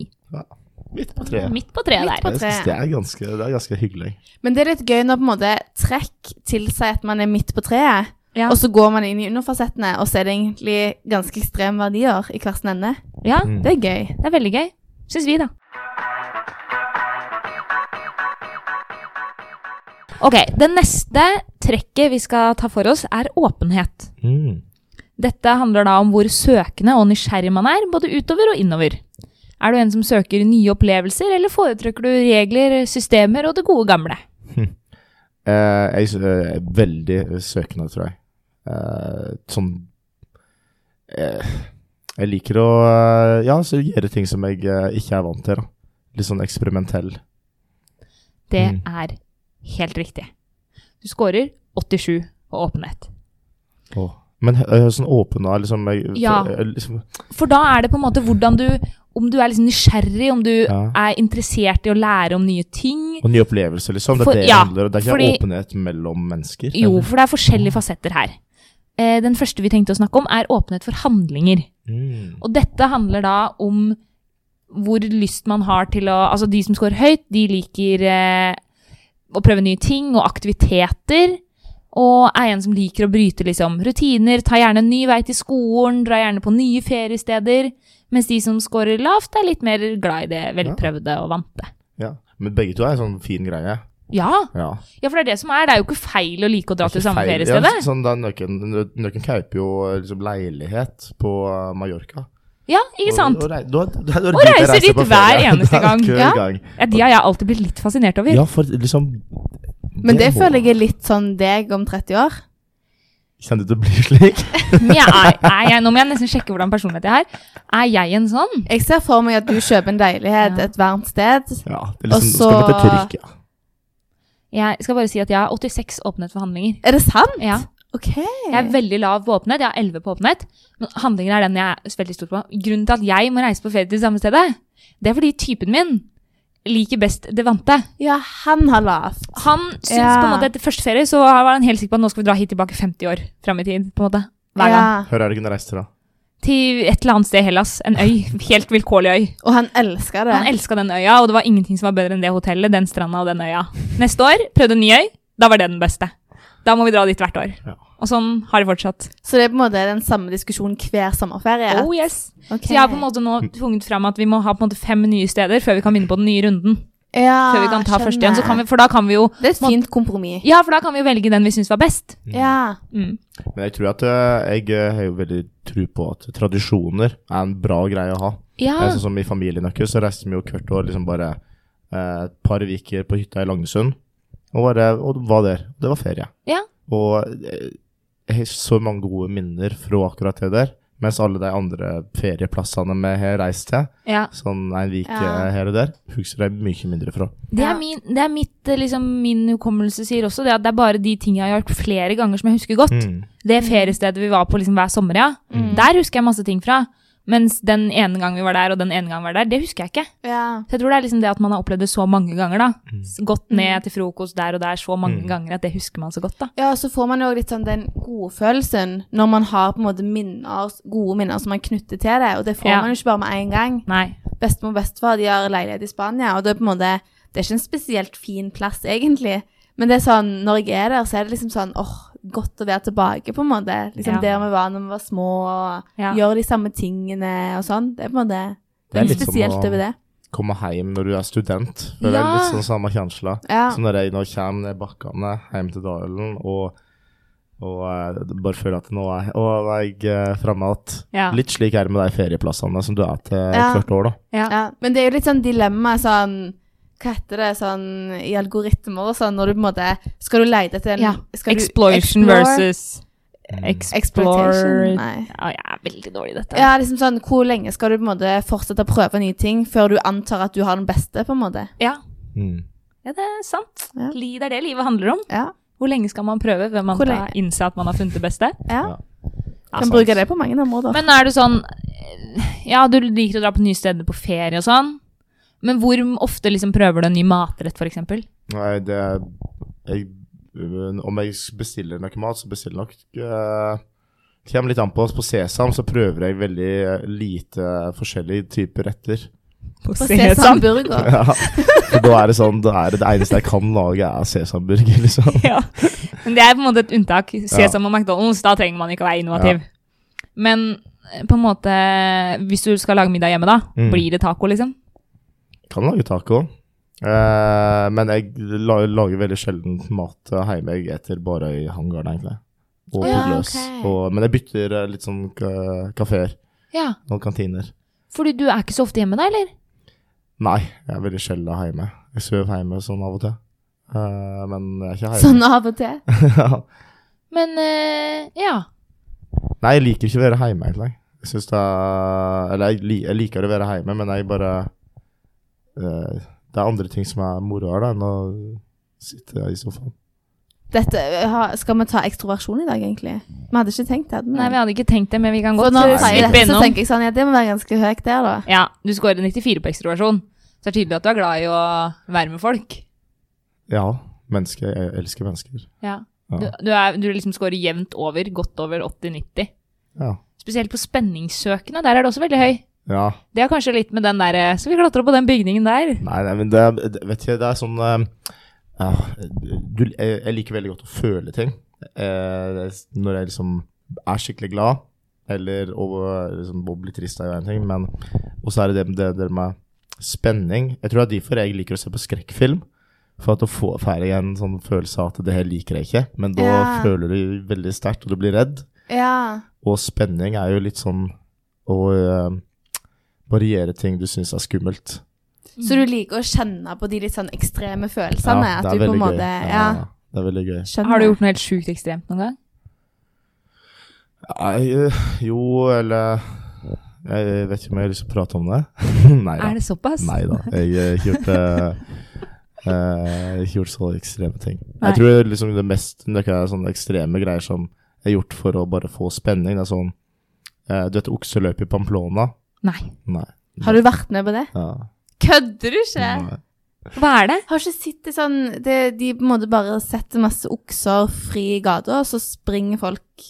[SPEAKER 3] Midt på treet.
[SPEAKER 1] Midt på treet der.
[SPEAKER 2] på
[SPEAKER 3] Jeg synes
[SPEAKER 2] treet.
[SPEAKER 3] det, er ganske, det er ganske hyggelig.
[SPEAKER 2] Men det er litt gøy når på en måte trekk tilsier at man er midt på treet,
[SPEAKER 1] Ja.
[SPEAKER 2] og så går man inn i underfasettene, og så er det egentlig ganske ekstreme verdier i hver sin ende.
[SPEAKER 1] ja,
[SPEAKER 2] Det er gøy.
[SPEAKER 1] det er veldig gøy. Syns vi, da. Ok, det neste trekket vi skal ta for oss, er åpenhet.
[SPEAKER 3] Mm.
[SPEAKER 1] Dette handler da om hvor søkende og nysgjerrig man er, både utover og innover. Er du en som søker nye opplevelser, eller foretrekker du regler, systemer og det gode gamle?
[SPEAKER 3] Eh, jeg s- eh, er veldig søkende, tror jeg. Eh, sånn eh, Jeg liker å eh, ja, så gjøre ting som jeg eh, ikke er vant til. Da. Litt sånn eksperimentell.
[SPEAKER 1] Det
[SPEAKER 3] Mm.
[SPEAKER 1] er helt riktig. Du scorer 87 på åpenhet.
[SPEAKER 3] Men eh, sånn åpen og liksom, jeg-
[SPEAKER 1] Ja.
[SPEAKER 3] eh, liksom
[SPEAKER 1] For da er det på en måte hvordan du Om du er liksom nysgjerrig, om du
[SPEAKER 3] Ja.
[SPEAKER 1] er interessert i å lære om nye ting.
[SPEAKER 3] Og nye opplevelser, liksom. Det er
[SPEAKER 1] For-
[SPEAKER 3] det
[SPEAKER 1] ja,
[SPEAKER 3] det handler om. Det er ikke
[SPEAKER 1] fordi-
[SPEAKER 3] åpenhet mellom mennesker.
[SPEAKER 1] Jo,
[SPEAKER 3] eller?
[SPEAKER 1] for det er forskjellige fasetter her. Eh, Den første vi tenkte å snakke om, er åpenhet for handlinger.
[SPEAKER 3] Mm.
[SPEAKER 1] Og dette handler da om hvor lyst man har til å Altså, de som scorer høyt, de liker eh, å prøve nye ting og aktiviteter. Og er en som liker å bryte liksom, rutiner, ta gjerne en ny vei til skolen, dra gjerne på nye feriesteder. Mens de som scorer lavt, er litt mer glad i det velprøvde og vante.
[SPEAKER 3] Ja. Men begge to er en sånn fin greie.
[SPEAKER 1] Ja,
[SPEAKER 3] Ja.
[SPEAKER 1] ja, for det er det som er. Det er jo ikke feil å like å dra
[SPEAKER 3] Det
[SPEAKER 1] til
[SPEAKER 3] er ikke
[SPEAKER 1] samme
[SPEAKER 3] feil.
[SPEAKER 1] feriestedet.
[SPEAKER 3] Ja, sånn, da Nøkken, nøkken kjøper jo liksom, leilighet på eh, Mallorca.
[SPEAKER 1] Ja, ikke sant?
[SPEAKER 3] Og, og, rei- da- da- da- da-
[SPEAKER 1] Og reiser
[SPEAKER 3] reiser
[SPEAKER 1] dit
[SPEAKER 3] på
[SPEAKER 1] hver
[SPEAKER 3] ferie.
[SPEAKER 1] eneste
[SPEAKER 3] [LAUGHS] Det er
[SPEAKER 1] gang.
[SPEAKER 3] hver
[SPEAKER 1] Ja.
[SPEAKER 3] gang.
[SPEAKER 1] Ja, de har jeg alltid blitt litt fascinert over.
[SPEAKER 3] Ja, for liksom
[SPEAKER 2] Men det føler jeg er litt sånn deg om 30 år.
[SPEAKER 3] Kjenner du til å bli [LAUGHS] slik?
[SPEAKER 1] Men jeg er, er jeg, nå må jeg nesten sjekke hvordan personlighet jeg har. Er jeg en sånn?
[SPEAKER 2] Jeg ser for meg at du kjøper en leilighet
[SPEAKER 1] Ja.
[SPEAKER 2] et varmt sted.
[SPEAKER 3] Ja. Det er liksom,
[SPEAKER 2] Og
[SPEAKER 3] Skal vi til
[SPEAKER 2] så-
[SPEAKER 3] Tyrkia?
[SPEAKER 1] Jeg skal bare si at jeg har 86 åpenhet for handlinger.
[SPEAKER 2] Er det sant?
[SPEAKER 1] Ja.
[SPEAKER 2] OK.
[SPEAKER 1] Jeg er veldig lav på åpenhet. Jeg har 11 på åpenhet. Men handlinger er den jeg er veldig stor på. Grunnen til at jeg må reise på ferie til samme stedet, det er fordi typen min liker best det vante.
[SPEAKER 2] Ja, han har lavt.
[SPEAKER 1] Han syns
[SPEAKER 2] Ja.
[SPEAKER 1] på en måte etter første ferie så var han helt sikker på at nå skal vi dra hit tilbake 50 år fram i tid. på en måte. Hver gang.
[SPEAKER 2] Ja.
[SPEAKER 3] Hør her du kunne reist til, da.
[SPEAKER 1] Til et eller annet sted i Hellas. En øy. Helt vilkårlig øy.
[SPEAKER 2] Og han elsker det.
[SPEAKER 1] Han elska den øya, og det var ingenting som var bedre enn det hotellet, den stranda og den øya. Neste år prøvde en ny øy. Da var det den beste. Da må vi dra dit hvert år.
[SPEAKER 3] Ja.
[SPEAKER 1] Og sånn har det fortsatt.
[SPEAKER 2] Så det er på en måte den samme diskusjonen hver sommerferie.
[SPEAKER 1] Oh yes.
[SPEAKER 2] Ok.
[SPEAKER 1] Så jeg har på en måte nå tvunget fram at vi må ha på en måte fem nye steder før vi kan begynne på den nye runden.
[SPEAKER 2] Ja,
[SPEAKER 1] Før vi kan ta
[SPEAKER 2] skjønner.
[SPEAKER 1] første igjen. Så kan vi, for da kan vi jo
[SPEAKER 2] Det er et fint kompromiss.
[SPEAKER 1] Ja, for da kan vi jo velge den vi syns var best.
[SPEAKER 2] Ja.
[SPEAKER 1] Mm.
[SPEAKER 3] Men jeg tror at eh, jeg eh, har jo veldig tro på at tradisjoner er en bra greie å ha.
[SPEAKER 1] Ja.
[SPEAKER 3] Det er sånn som I familienøkkel så reiste vi jo hvert år liksom bare eh, et par uker på hytta i Langesund. Og, bare, og var der. Det var ferie.
[SPEAKER 1] Ja.
[SPEAKER 3] Og eh, jeg har så mange gode minner fra akkurat det der. Mens alle de andre ferieplassene vi har reist til,
[SPEAKER 1] Ja.
[SPEAKER 3] sånn en uke
[SPEAKER 2] Ja.
[SPEAKER 3] her og der, husker jeg mye mindre fra.
[SPEAKER 1] Det er,
[SPEAKER 2] Ja.
[SPEAKER 1] min, det er mitt, eh, liksom, min hukommelse sier også det at det er bare de ting jeg har gjort flere ganger som jeg husker godt.
[SPEAKER 3] Mm.
[SPEAKER 1] Det feriestedet vi var på liksom, hver sommer, ja.
[SPEAKER 2] Mm.
[SPEAKER 1] Der husker jeg masse ting fra. Mens den ene gangen vi var der, og den ene gangen vi var der, det husker jeg ikke.
[SPEAKER 2] Ja.
[SPEAKER 1] Så jeg tror det er liksom det at man har opplevd det så mange ganger, da. S- Gått
[SPEAKER 2] Mm.
[SPEAKER 1] ned til frokost der og der så mange
[SPEAKER 3] Mm.
[SPEAKER 1] ganger at det husker man så godt, da.
[SPEAKER 2] Ja, så får man jo også litt sånn den gode følelsen når man har på en måte minner, gode minner som man knytter til det, og det får
[SPEAKER 1] Ja.
[SPEAKER 2] man jo ikke bare med en gang.
[SPEAKER 1] Nei.
[SPEAKER 2] Bestemor og bestefar de har leilighet i Spania, og det er på en måte, det er ikke en spesielt fin plass egentlig, men det er sånn, når jeg er der, så er det liksom sånn, åh, godt å være tilbake på en måte, liksom
[SPEAKER 1] Ja.
[SPEAKER 2] der vi var når vi var små, og
[SPEAKER 1] Ja.
[SPEAKER 2] gjøre de samme tingene og sånn, det er på en måte, det er litt spesielt
[SPEAKER 3] som å
[SPEAKER 2] over det.
[SPEAKER 3] komme hjem når du er student. For Det er
[SPEAKER 1] Ja.
[SPEAKER 3] litt sånn samme kjensla.
[SPEAKER 2] Ja,
[SPEAKER 3] Så når jeg nå kommer ned bakkene hjem til Dalen og, og eh, bare føler at nå er og jeg eh, fremme igjen.
[SPEAKER 1] Ja.
[SPEAKER 3] Litt slik er det med de ferieplassene som du er til
[SPEAKER 2] Ja.
[SPEAKER 3] hvert år, da.
[SPEAKER 1] Ja.
[SPEAKER 2] ja. Men det er jo litt sånn dilemma, sånn, hva heter det, sånn, i algoritmer og sånn, når du på en måte, skal du leide etter en...
[SPEAKER 1] Ja.
[SPEAKER 2] skal du
[SPEAKER 1] Exploration
[SPEAKER 2] explore-
[SPEAKER 1] versus
[SPEAKER 3] Mm.
[SPEAKER 2] Exploitation,
[SPEAKER 1] explore
[SPEAKER 2] nei.
[SPEAKER 1] Ja, jeg er veldig dårlig i dette.
[SPEAKER 2] Ja, liksom sånn, hvor lenge skal du på en måte fortsette å prøve nye ting før du antar at du har den beste, på en måte?
[SPEAKER 1] Ja.
[SPEAKER 3] Mm.
[SPEAKER 1] Ja, det er sant.
[SPEAKER 2] Ja.
[SPEAKER 1] Li- Det er det livet handler om.
[SPEAKER 2] Ja.
[SPEAKER 1] Hvor lenge skal man prøve før man
[SPEAKER 2] Hvor
[SPEAKER 1] skal
[SPEAKER 2] lenge?
[SPEAKER 1] innse at man har funnet det beste?
[SPEAKER 2] Ja.
[SPEAKER 3] Ja,
[SPEAKER 2] Kan
[SPEAKER 3] sant.
[SPEAKER 2] bruke det på mange områder.
[SPEAKER 1] Men er det sånn Ja, du liker å dra på nye steder på ferie og sånn, men hvor ofte liksom prøver du en ny matrett, for eksempel?
[SPEAKER 3] Nei, det er jeg, øh, Om jeg bestiller noe mat, så bestiller jeg nok eh, Kommer litt an på. På Sesam så prøver jeg veldig eh, lite forskjellige typer retter.
[SPEAKER 1] På
[SPEAKER 2] På
[SPEAKER 1] sånn- [LAUGHS]
[SPEAKER 2] Sesam
[SPEAKER 3] [LAUGHS]
[SPEAKER 2] Burger.
[SPEAKER 3] Ja. For da er det sånn Da er det det eneste jeg kan lage, er sesamburger, liksom.
[SPEAKER 1] ja. Men det er på en måte et unntak. Sesam og McDonald's, da trenger man ikke å være innovativ. Men eh, på en måte, hvis du skal lage middag hjemme da,
[SPEAKER 3] Mm.
[SPEAKER 1] blir det taco liksom?
[SPEAKER 3] Kan lage taco. Eh, men jeg la, lager veldig sjelden mat eh, hjemme. Jeg eter bare i hangaren, egentlig. Og på
[SPEAKER 2] Ja,
[SPEAKER 3] løs.
[SPEAKER 2] ok.
[SPEAKER 3] Og, men jeg bytter eh, litt sånn uh, kafeer
[SPEAKER 1] Ja,
[SPEAKER 3] og kantiner.
[SPEAKER 1] fordi du er ikke så ofte hjemme da, eller?
[SPEAKER 3] Nei, jeg er veldig sjelden hjemme. Jeg sover hjemme sånn av og til. Eh, men jeg er ikke hjemme.
[SPEAKER 2] Sånn av og til.
[SPEAKER 3] [LAUGHS]
[SPEAKER 1] Men, eh, ja.
[SPEAKER 3] Nei, jeg liker ikke å være hjemme, egentlig. Jeg synes det er, Eller jeg, li- jeg liker å være hjemme, men jeg bare eh, Det er andre ting som er moroere da, enn å sitte i sofaen.
[SPEAKER 2] Dette, ha- skal vi ta ekstroversjon i dag, egentlig? Vi hadde ikke tenkt det. hadde vi?
[SPEAKER 1] Nei, vi hadde ikke tenkt det, men vi kan
[SPEAKER 2] For
[SPEAKER 1] godt
[SPEAKER 2] når
[SPEAKER 1] eh,
[SPEAKER 2] han sier
[SPEAKER 1] slippe
[SPEAKER 2] dette, så
[SPEAKER 1] innom.
[SPEAKER 2] tenker jeg sånn, ja, det må være ganske høyt der, da.
[SPEAKER 1] Ja, du skårer 94 på ekstroversjon. Så det er tydelig at du er glad i å være med folk.
[SPEAKER 3] Ja, mennesker. Jeg elsker mennesker.
[SPEAKER 1] Ja.
[SPEAKER 3] Ja.
[SPEAKER 1] Du, du, er, du liksom skårer jevnt over, godt over 80-90.
[SPEAKER 3] Ja.
[SPEAKER 1] Spesielt på spenningssøkende, der er det også veldig høy.
[SPEAKER 3] ja.
[SPEAKER 1] Det er kanskje litt med den der, eh, så vi klatre opp på den bygningen der.
[SPEAKER 3] Nei, nei, men det, er- det, vet jeg, det er sånn eh, ja, du, jeg, jeg liker veldig godt å føle ting. Eh, når jeg liksom er skikkelig glad, eller å, liksom, å bli trist er jo én ting, men Og så er det det, det, det med spenning. Jeg tror det er derfor jeg liker å se på skrekkfilm. For at å få får jeg en sånn følelse av at det her liker jeg ikke, men da
[SPEAKER 2] Ja.
[SPEAKER 3] føler du veldig sterkt, og du blir redd.
[SPEAKER 2] Ja.
[SPEAKER 3] Og spenning er jo litt sånn å eh, variere ting du syns er skummelt.
[SPEAKER 2] Så du liker å kjenne på de litt sånn ekstreme følelsene? at du på en måte,
[SPEAKER 3] gøy.
[SPEAKER 2] Ja,
[SPEAKER 3] det er veldig gøy.
[SPEAKER 2] skjønner.
[SPEAKER 1] Har du gjort noe helt sjukt ekstremt noen gang?
[SPEAKER 3] Nei, øh, jo, eller Jeg vet ikke om jeg har lyst til å prate om det. [LAUGHS] Nei da.
[SPEAKER 1] Er det såpass?
[SPEAKER 3] Nei da. Jeg har ikke gjort det. eh, jeg har ikke gjort så ekstreme ting.
[SPEAKER 1] Nei.
[SPEAKER 3] Jeg tror liksom det mest det er sånne ekstreme greier som jeg har gjort for å bare få spenning. Det er sånn eh, Du vet okseløpet i Pamplona?
[SPEAKER 1] Nei.
[SPEAKER 3] Nei.
[SPEAKER 2] Har du vært med på det?
[SPEAKER 3] Ja.
[SPEAKER 2] Kødder du ikke?
[SPEAKER 3] Nei.
[SPEAKER 1] Hva er det?
[SPEAKER 2] Har ikke sett det sånn det, De på en måte bare setter masse okser fri i gata, og så springer folk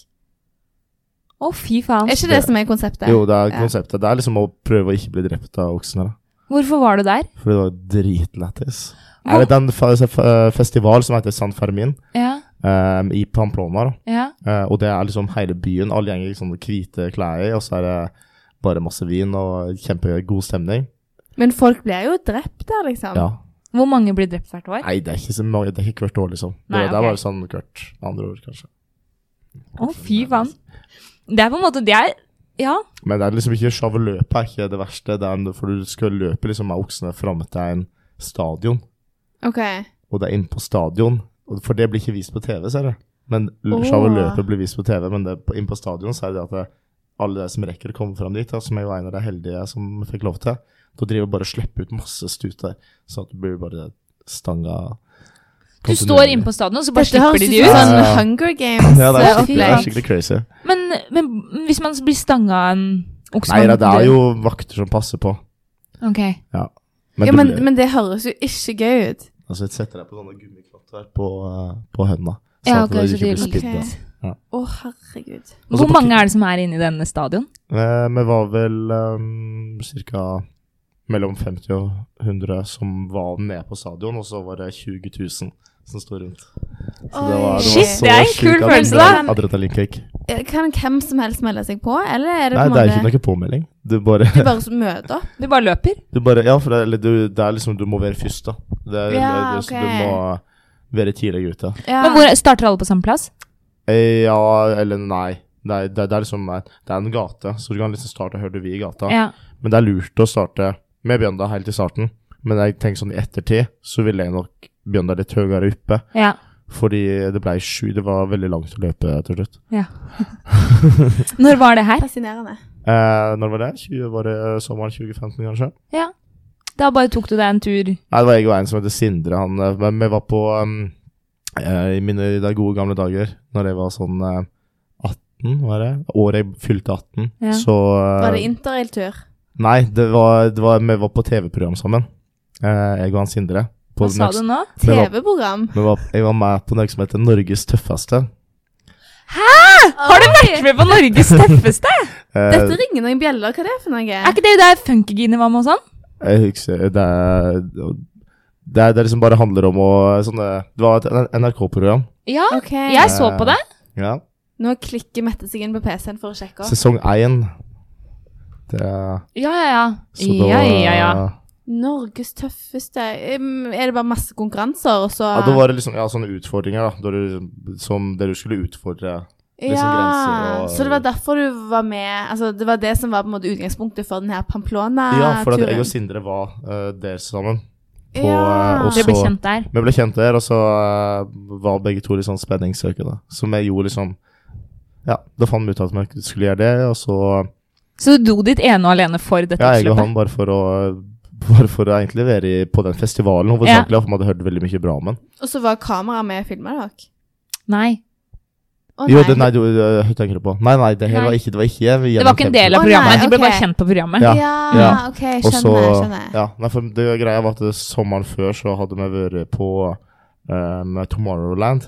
[SPEAKER 1] Å, fy faen.
[SPEAKER 2] Er ikke det som er konseptet?
[SPEAKER 3] Jo, det er
[SPEAKER 2] Ja.
[SPEAKER 3] konseptet. Det er liksom å prøve å ikke bli drept av oksene. da.
[SPEAKER 1] Hvorfor var du der?
[SPEAKER 3] For det var dritlættis. Er det den fa- fa- eh, festival som heter San Fermin
[SPEAKER 1] Ja,
[SPEAKER 3] eh, i Pamplona? da.
[SPEAKER 1] ja.
[SPEAKER 3] Eh, og det er liksom hele byen. Alle gjenger i sånne hvite klær, i, og så er det bare masse vin og kjempegod stemning.
[SPEAKER 2] Men folk blir jo drept der, liksom.
[SPEAKER 3] Ja.
[SPEAKER 1] Hvor mange blir drept hvert år?
[SPEAKER 3] Nei, det er ikke så mange, det er ikke hvert år, liksom. Det,
[SPEAKER 1] Nei,
[SPEAKER 3] det er
[SPEAKER 1] ok.
[SPEAKER 3] bare sånn hvert andre år, kanskje.
[SPEAKER 1] Å,
[SPEAKER 3] altså,
[SPEAKER 1] fy faen. Det er på en måte, det er, ja.
[SPEAKER 3] Men det er liksom ikke sjave løpet er ikke det verste, det er for du skal løpe liksom med oksene fram til en stadion,
[SPEAKER 2] Ok.
[SPEAKER 3] og det er inne på stadion. Og- For det blir ikke vist på TV, ser du. Men l-
[SPEAKER 2] Åh.
[SPEAKER 3] sjave løpet blir vist på TV, men det, på, inn på stadion så er det at det, alle de som rekker å komme fram dit, da, som er jo en av de heldige som fikk lov til, da driver og bare slipper ut masse stuter, sånn at du blir bare stanga
[SPEAKER 1] Du står inne på stadion, og så bare
[SPEAKER 2] Dette
[SPEAKER 1] slipper
[SPEAKER 2] høres
[SPEAKER 1] de
[SPEAKER 2] ut
[SPEAKER 1] de
[SPEAKER 2] som
[SPEAKER 1] ut.
[SPEAKER 3] Ja,
[SPEAKER 2] sånn
[SPEAKER 3] ja.
[SPEAKER 2] Hunger
[SPEAKER 3] Ja, det er, skikkelig, det er
[SPEAKER 2] Games-opplegg.
[SPEAKER 3] skikkelig crazy.
[SPEAKER 1] Men, men hvis man blir stanga av en okse
[SPEAKER 3] Nei, det det er jo vakter som passer på.
[SPEAKER 1] Ok.
[SPEAKER 3] Men,
[SPEAKER 2] Ja,
[SPEAKER 3] du
[SPEAKER 2] men,
[SPEAKER 3] blir-
[SPEAKER 2] men det høres jo ikke gøy ut.
[SPEAKER 3] altså, jeg setter deg på sånne gummiklatter på, eh, på hendene. Så
[SPEAKER 1] Ja,
[SPEAKER 3] at
[SPEAKER 1] ok,
[SPEAKER 3] du
[SPEAKER 1] så
[SPEAKER 3] ikke blir
[SPEAKER 1] de-
[SPEAKER 3] spidd. da.
[SPEAKER 2] Ok. Å, herregud.
[SPEAKER 3] Og så
[SPEAKER 1] Hvor
[SPEAKER 3] Altså, på
[SPEAKER 1] mange
[SPEAKER 3] ti-
[SPEAKER 1] er det som er inne i denne stadion?
[SPEAKER 3] Eh, Vi var vel um, ca. mellom 50 og 100 som var nede på stadion, og så var det 20 000 som sto rundt. Så det var, det var
[SPEAKER 1] Shit,
[SPEAKER 3] så
[SPEAKER 1] det er en
[SPEAKER 3] sjuk
[SPEAKER 1] kul følelse,
[SPEAKER 3] adrenalin-
[SPEAKER 2] da.
[SPEAKER 3] Adrenalinkick.
[SPEAKER 2] Kan hvem som helst melde seg på, eller er det
[SPEAKER 3] Nei,
[SPEAKER 2] på en
[SPEAKER 3] det er ikke
[SPEAKER 2] måte
[SPEAKER 3] noe påmelding. Du bare,
[SPEAKER 2] Du bare
[SPEAKER 1] [LAUGHS]
[SPEAKER 2] møter opp?
[SPEAKER 1] De bare løper?
[SPEAKER 3] du bare Ja, for det, er- eller du, det er liksom Du må være først, da. Det er,
[SPEAKER 2] Ja,
[SPEAKER 3] det, så
[SPEAKER 2] ok.
[SPEAKER 3] Du må være tidlig ute.
[SPEAKER 2] Ja.
[SPEAKER 1] Men hvor starter alle på samme plass?
[SPEAKER 3] Eh, Ja, eller nei. Det er, det, er- det er liksom Det er en gate, så du kan liksom starte Hører du vi i gata?
[SPEAKER 1] Ja.
[SPEAKER 3] Men det er lurt å starte med Bjønda helt i starten. Men jeg tenker sånn i ettertid, så ville jeg nok Bjønda litt høyere oppe.
[SPEAKER 1] ja.
[SPEAKER 3] Fordi det ble sju. Det var veldig langt å løpe til slutt.
[SPEAKER 1] Når var det her?
[SPEAKER 2] Fascinerende.
[SPEAKER 3] Eh, når var det? 20, var det eh, sommeren 2015, kanskje?
[SPEAKER 1] Ja. Da bare tok du deg en tur.
[SPEAKER 3] Nei, det var jeg og en som heter Sindre. Han, eh, men vi var på um, eh, I mine de gode gamle dager, når jeg var sånn eh, 18, var det? Året jeg fylte 18,
[SPEAKER 1] Ja.
[SPEAKER 3] så eh,
[SPEAKER 2] Var det interrailtur?
[SPEAKER 3] Nei, det var, det var, vi var på TV-program sammen. Eh, jeg og han Sindre. På
[SPEAKER 1] Hva sa du nå?
[SPEAKER 3] det var-
[SPEAKER 2] TV-program?
[SPEAKER 3] Vi var, jeg var med på noe som heter Norges tøffeste.
[SPEAKER 1] Har du vært med på
[SPEAKER 3] [LAUGHS]
[SPEAKER 1] Norges tøffeste?
[SPEAKER 3] Eh,
[SPEAKER 2] Dette ringer noen bjeller. Hva er det for
[SPEAKER 1] Er
[SPEAKER 2] noe?
[SPEAKER 1] ikke det der Funkygine var med og sånn?
[SPEAKER 3] Jeg husker Det er det, er, det er liksom bare handler om å sånne, Det var et NRK-program.
[SPEAKER 1] Ja.
[SPEAKER 2] Ok.
[SPEAKER 1] Jeg så på det.
[SPEAKER 3] Ja.
[SPEAKER 2] Nå klikker Mette seg inn på PC-en for å sjekke. opp.
[SPEAKER 3] Sesong én. Det er-
[SPEAKER 1] Ja, ja, ja.
[SPEAKER 3] så da-
[SPEAKER 1] ja, ja, ja.
[SPEAKER 2] Norges tøffeste um, Er det bare masse konkurranser, og så
[SPEAKER 3] Ja, da var det liksom ja, sånne utfordringer, da. Da du, som der du skulle utfordre liksom grenser og-
[SPEAKER 2] Så det var derfor du var med Altså, det var det som var på en måte utgangspunktet for den her
[SPEAKER 1] Ah,
[SPEAKER 2] Pamplona-turen?
[SPEAKER 3] Ja, for at jeg og Sindre var eh, der sammen. på, eh, også-
[SPEAKER 1] Dere ble kjent der.
[SPEAKER 3] Vi ble kjent der, og så eh, var begge to litt sånn spenningssøkende. Så vi gjorde liksom Ja, da fant vi ut at vi skulle gjøre det, og så
[SPEAKER 1] Så du dro dit ene og alene for dette
[SPEAKER 3] Ja, jeg og
[SPEAKER 1] utløpet?
[SPEAKER 3] han bare for å bare for å egentlig være i, på den festivalen, hovedsakelig, for man hadde hørt veldig mye bra om den.
[SPEAKER 2] Og så var kameraet med og filma dere?
[SPEAKER 1] Nei.
[SPEAKER 2] Å,
[SPEAKER 3] Jo, det, nei, du, øh, hva tenker du på? Nei, nei, det her
[SPEAKER 1] Nei.
[SPEAKER 3] var ikke Det var ikke vi
[SPEAKER 1] Det var ikke en del av
[SPEAKER 2] Å, nei,
[SPEAKER 1] programmet. De ble
[SPEAKER 2] ok.
[SPEAKER 1] bare kjent på programmet.
[SPEAKER 3] Ja,
[SPEAKER 2] Ja,
[SPEAKER 3] ja.
[SPEAKER 2] OK, skjønner. skjønner.
[SPEAKER 3] Ja, nei, for det greia var at det- sommeren før så hadde vi vært på ehm, Tomorrowland,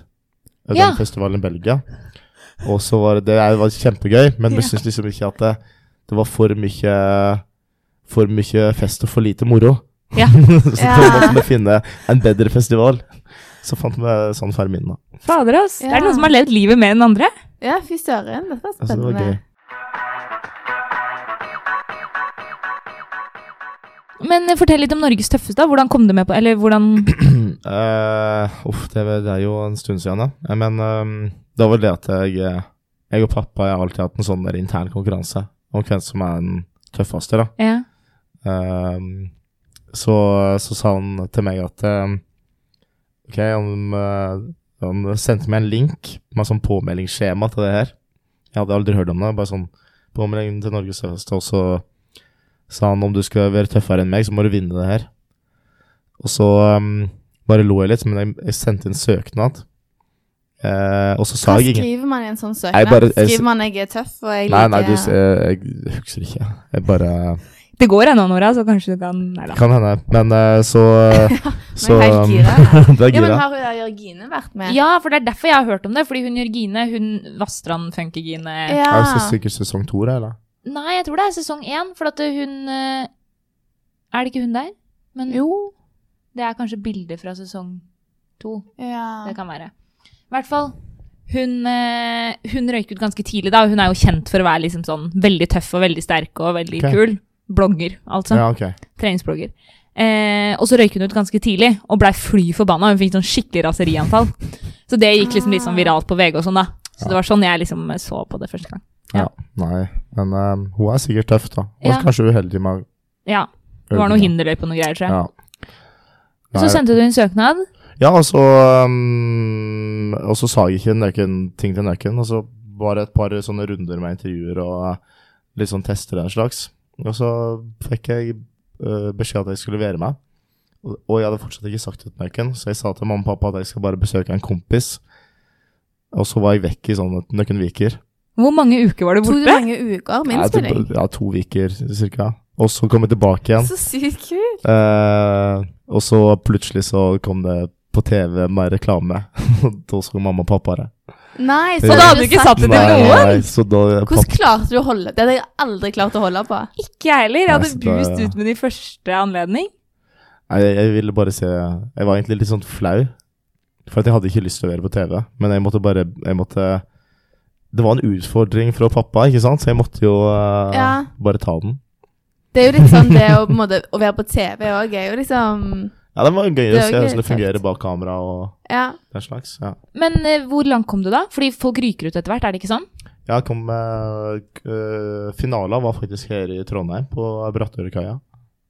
[SPEAKER 3] eh, den
[SPEAKER 1] Ja.
[SPEAKER 3] festivalen i Belgia. Og så var det Det er- var kjempegøy, men
[SPEAKER 1] Ja.
[SPEAKER 3] vi syntes liksom ikke at det, det var for mye For mye fest og for lite moro.
[SPEAKER 1] Ja.
[SPEAKER 3] [LAUGHS] så da
[SPEAKER 2] Ja.
[SPEAKER 3] måtte vi finne en bedre festival. Så fant vi sånn San Fermin, da.
[SPEAKER 1] Fader, ass. Det
[SPEAKER 2] Ja.
[SPEAKER 1] er noen som har levd livet mer enn andre.
[SPEAKER 2] Ja, fy søren. Dette var
[SPEAKER 3] Altså, det var
[SPEAKER 2] spennende.
[SPEAKER 3] gøy.
[SPEAKER 1] Men eh, fortell litt om Norges tøffeste. da. Hvordan kom du med på Eller hvordan [CLEARS THROAT]
[SPEAKER 3] [CLEARS THROAT] Eh, uff, det, er- det er jo en stund siden, da. Eh, Men eh, det var vel det at jeg, eh, jeg og pappa jeg har alltid hatt en sånn der intern konkurranse om hvem som er den tøffeste, da.
[SPEAKER 1] Ja.
[SPEAKER 3] Eh, så, så sa han til meg at eh, OK, han, eh, han sendte meg en link med sånn påmeldingsskjema til det her. Jeg hadde aldri hørt om det. Bare sånn påmelding til Norges tøffeste, og så sa han om du skal være tøffere enn meg, så må du vinne det her. Og så um, bare lo jeg litt, men jeg, jeg sendte inn søknad. Eh, og så
[SPEAKER 2] Hva
[SPEAKER 3] sa jeg ingen
[SPEAKER 2] skriver man i en sånn
[SPEAKER 3] Jeg
[SPEAKER 2] søknad?
[SPEAKER 3] bare- jeg-
[SPEAKER 2] skriver man 'jeg er tøff' og 'jeg
[SPEAKER 3] Nei, nei, du,
[SPEAKER 2] liker
[SPEAKER 3] s- eh, jeg husker ikke. Jeg bare
[SPEAKER 1] Det går ennå, Nora, så kanskje du kan Nei da.
[SPEAKER 3] Kan hende. Men eh, så
[SPEAKER 2] [LAUGHS]
[SPEAKER 3] Så
[SPEAKER 2] Men helt
[SPEAKER 3] [LAUGHS] um,
[SPEAKER 2] gira.
[SPEAKER 3] Du er
[SPEAKER 2] Ja, men
[SPEAKER 3] gira.
[SPEAKER 2] har hun der Jørgine vært med?
[SPEAKER 1] Ja, for det er derfor jeg har hørt om det. Fordi hun Jørgine, hun Vassdrand Funkygine
[SPEAKER 2] Ja.
[SPEAKER 3] Er det sikkert sesong to, det, eller?
[SPEAKER 1] Nei, jeg tror det er sesong én, for at hun eh, Er det ikke hun der? Men
[SPEAKER 2] Jo.
[SPEAKER 1] det er kanskje bilder fra sesong to.
[SPEAKER 2] Ja.
[SPEAKER 1] Det kan være. I hvert fall. Hun, eh, hun røyk ut ganske tidlig, da. og Hun er jo kjent for å være liksom sånn veldig tøff og veldig sterk og veldig
[SPEAKER 3] Ok.
[SPEAKER 1] kul. Blogger, altså.
[SPEAKER 3] Ja, ok.
[SPEAKER 1] Treningsblogger. Eh, og så røyk hun ut ganske tidlig og blei fly forbanna. Hun fikk sånn skikkelig raserianfall. Så det gikk liksom litt sånn viralt på VG og sånn, da. Så det var sånn jeg liksom så på det første gang. Ja.
[SPEAKER 3] Ja. Nei, men um, hun er sikkert tøff, da. Og
[SPEAKER 1] Ja.
[SPEAKER 3] kanskje uheldig med
[SPEAKER 1] Ja. Det var noe hinderløype og noe greier, tror jeg.
[SPEAKER 3] Ja.
[SPEAKER 1] Så
[SPEAKER 3] Nei,
[SPEAKER 1] sendte du en søknad.
[SPEAKER 3] Ja, og så um, Og så sa jeg ikke nøkken, ting til nøkken, og så var det et par sånne runder med intervjuer og litt sånn tester og den slags. Og så fikk jeg eh, beskjed at jeg skulle være med. Og, og jeg hadde fortsatt ikke sagt det til nøkken, så jeg sa til mamma og pappa at jeg skal bare besøke en kompis. Og så var jeg vekk i sånn noen viker.
[SPEAKER 1] Hvor mange uker var du
[SPEAKER 2] Tok det
[SPEAKER 1] borte?
[SPEAKER 2] mange uker?
[SPEAKER 3] Ja,
[SPEAKER 2] Minst,
[SPEAKER 3] typ-
[SPEAKER 2] spør jeg.
[SPEAKER 3] Ja, to viker cirka. Og så kom jeg tilbake igjen.
[SPEAKER 2] Så sykt kult.
[SPEAKER 3] Eh, og så plutselig så kom det på TV med reklame. [LAUGHS] Og da så mamma og pappa det.
[SPEAKER 2] Nei,
[SPEAKER 3] Og da
[SPEAKER 1] hadde du ikke satt det til
[SPEAKER 2] Nei.
[SPEAKER 1] noen?
[SPEAKER 3] så da
[SPEAKER 2] Hvordan klarte du å holde Det hadde jeg aldri klart å holde [LAUGHS] på.
[SPEAKER 1] Ikke jeg heller. Jeg hadde
[SPEAKER 3] Nei, så da-
[SPEAKER 1] boost ut med det i første anledning.
[SPEAKER 3] Nei, jeg, jeg ville bare se Jeg var egentlig litt sånn flau. For at jeg hadde ikke lyst til å være på TV. Men jeg måtte bare jeg måtte, Det var en utfordring fra pappa, ikke sant? Så jeg måtte jo eh,
[SPEAKER 2] Ja.
[SPEAKER 3] bare ta den.
[SPEAKER 2] Det er jo litt sånn det å, på en måte, å være på TV òg er jo liksom
[SPEAKER 3] Ja, det var gøy
[SPEAKER 2] Det
[SPEAKER 3] å
[SPEAKER 2] er
[SPEAKER 3] se
[SPEAKER 2] jo
[SPEAKER 3] hvordan det
[SPEAKER 2] gøy,
[SPEAKER 3] fungerer
[SPEAKER 2] sant.
[SPEAKER 3] bak kamera og
[SPEAKER 2] Ja.
[SPEAKER 3] den slags. Ja,
[SPEAKER 1] Men eh, hvor langt kom du da? Fordi folk ryker ut etter hvert, er det ikke sånn?
[SPEAKER 3] jeg kom med uh, Finalen var faktisk her i Trondheim, på Brattørkaia.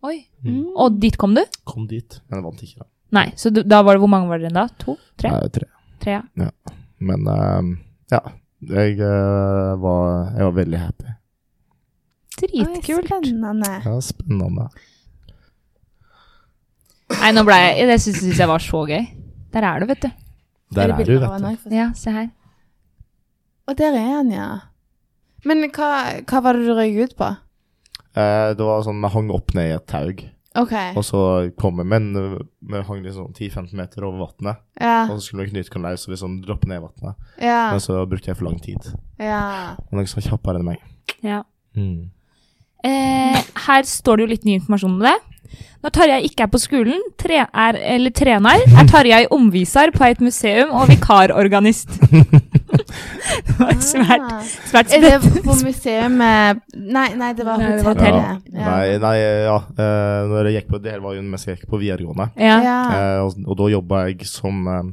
[SPEAKER 1] Oi.
[SPEAKER 3] Mm.
[SPEAKER 1] Og dit kom du?
[SPEAKER 3] Kom dit, men jeg vant ikke, da.
[SPEAKER 1] Nei, så du, da var det hvor mange var dere da? To? Tre?
[SPEAKER 3] Nei, tre.
[SPEAKER 1] Tre, ja.
[SPEAKER 3] Men eh, ja. Jeg, eh, var, jeg var veldig happy.
[SPEAKER 1] Dritkult.
[SPEAKER 2] Oi, spennende.
[SPEAKER 3] Ja, spennende.
[SPEAKER 1] Nei, nå ble jeg Det syns jeg var så gøy. Der er du, vet du.
[SPEAKER 3] Der er,
[SPEAKER 2] bilder av
[SPEAKER 3] du, vet du.
[SPEAKER 2] henne også?
[SPEAKER 1] Ja, se her.
[SPEAKER 2] Og der er han, ja. Men hva, hva var det du røyk ut på?
[SPEAKER 3] Eh, det var sånn, vi hang opp ned i et taug,
[SPEAKER 2] OK.
[SPEAKER 3] og så kom vi, men eh, vi hang liksom 10-15 meter over vannet,
[SPEAKER 2] Ja.
[SPEAKER 3] og så skulle vi knyte oss løs og liksom droppe ned i vannet.
[SPEAKER 2] Ja.
[SPEAKER 3] Men så brukte jeg for lang tid.
[SPEAKER 2] ja.
[SPEAKER 3] Men noen som var kjappere enn meg.
[SPEAKER 1] Ja.
[SPEAKER 3] Mm.
[SPEAKER 1] Eh, her står det jo litt ny informasjon om det. Når Tarjei ikke er på skolen, tre er, eller trener, er Tarjei omviser på et museum og
[SPEAKER 3] [LAUGHS]
[SPEAKER 1] vikarorganist. det var svært,
[SPEAKER 2] Ah.
[SPEAKER 1] svært
[SPEAKER 2] Er det
[SPEAKER 1] spennende.
[SPEAKER 2] på museum med Nei, nei, det var
[SPEAKER 1] Nei, det var
[SPEAKER 2] hotellet.
[SPEAKER 1] hotellet.
[SPEAKER 3] Nei, nei, ja. Eh, når jeg gikk på, det her var jo mens jeg gikk på videregående.
[SPEAKER 1] Ja.
[SPEAKER 2] Ja. Ja.
[SPEAKER 3] Eh, og, og da jobba jeg som, eh,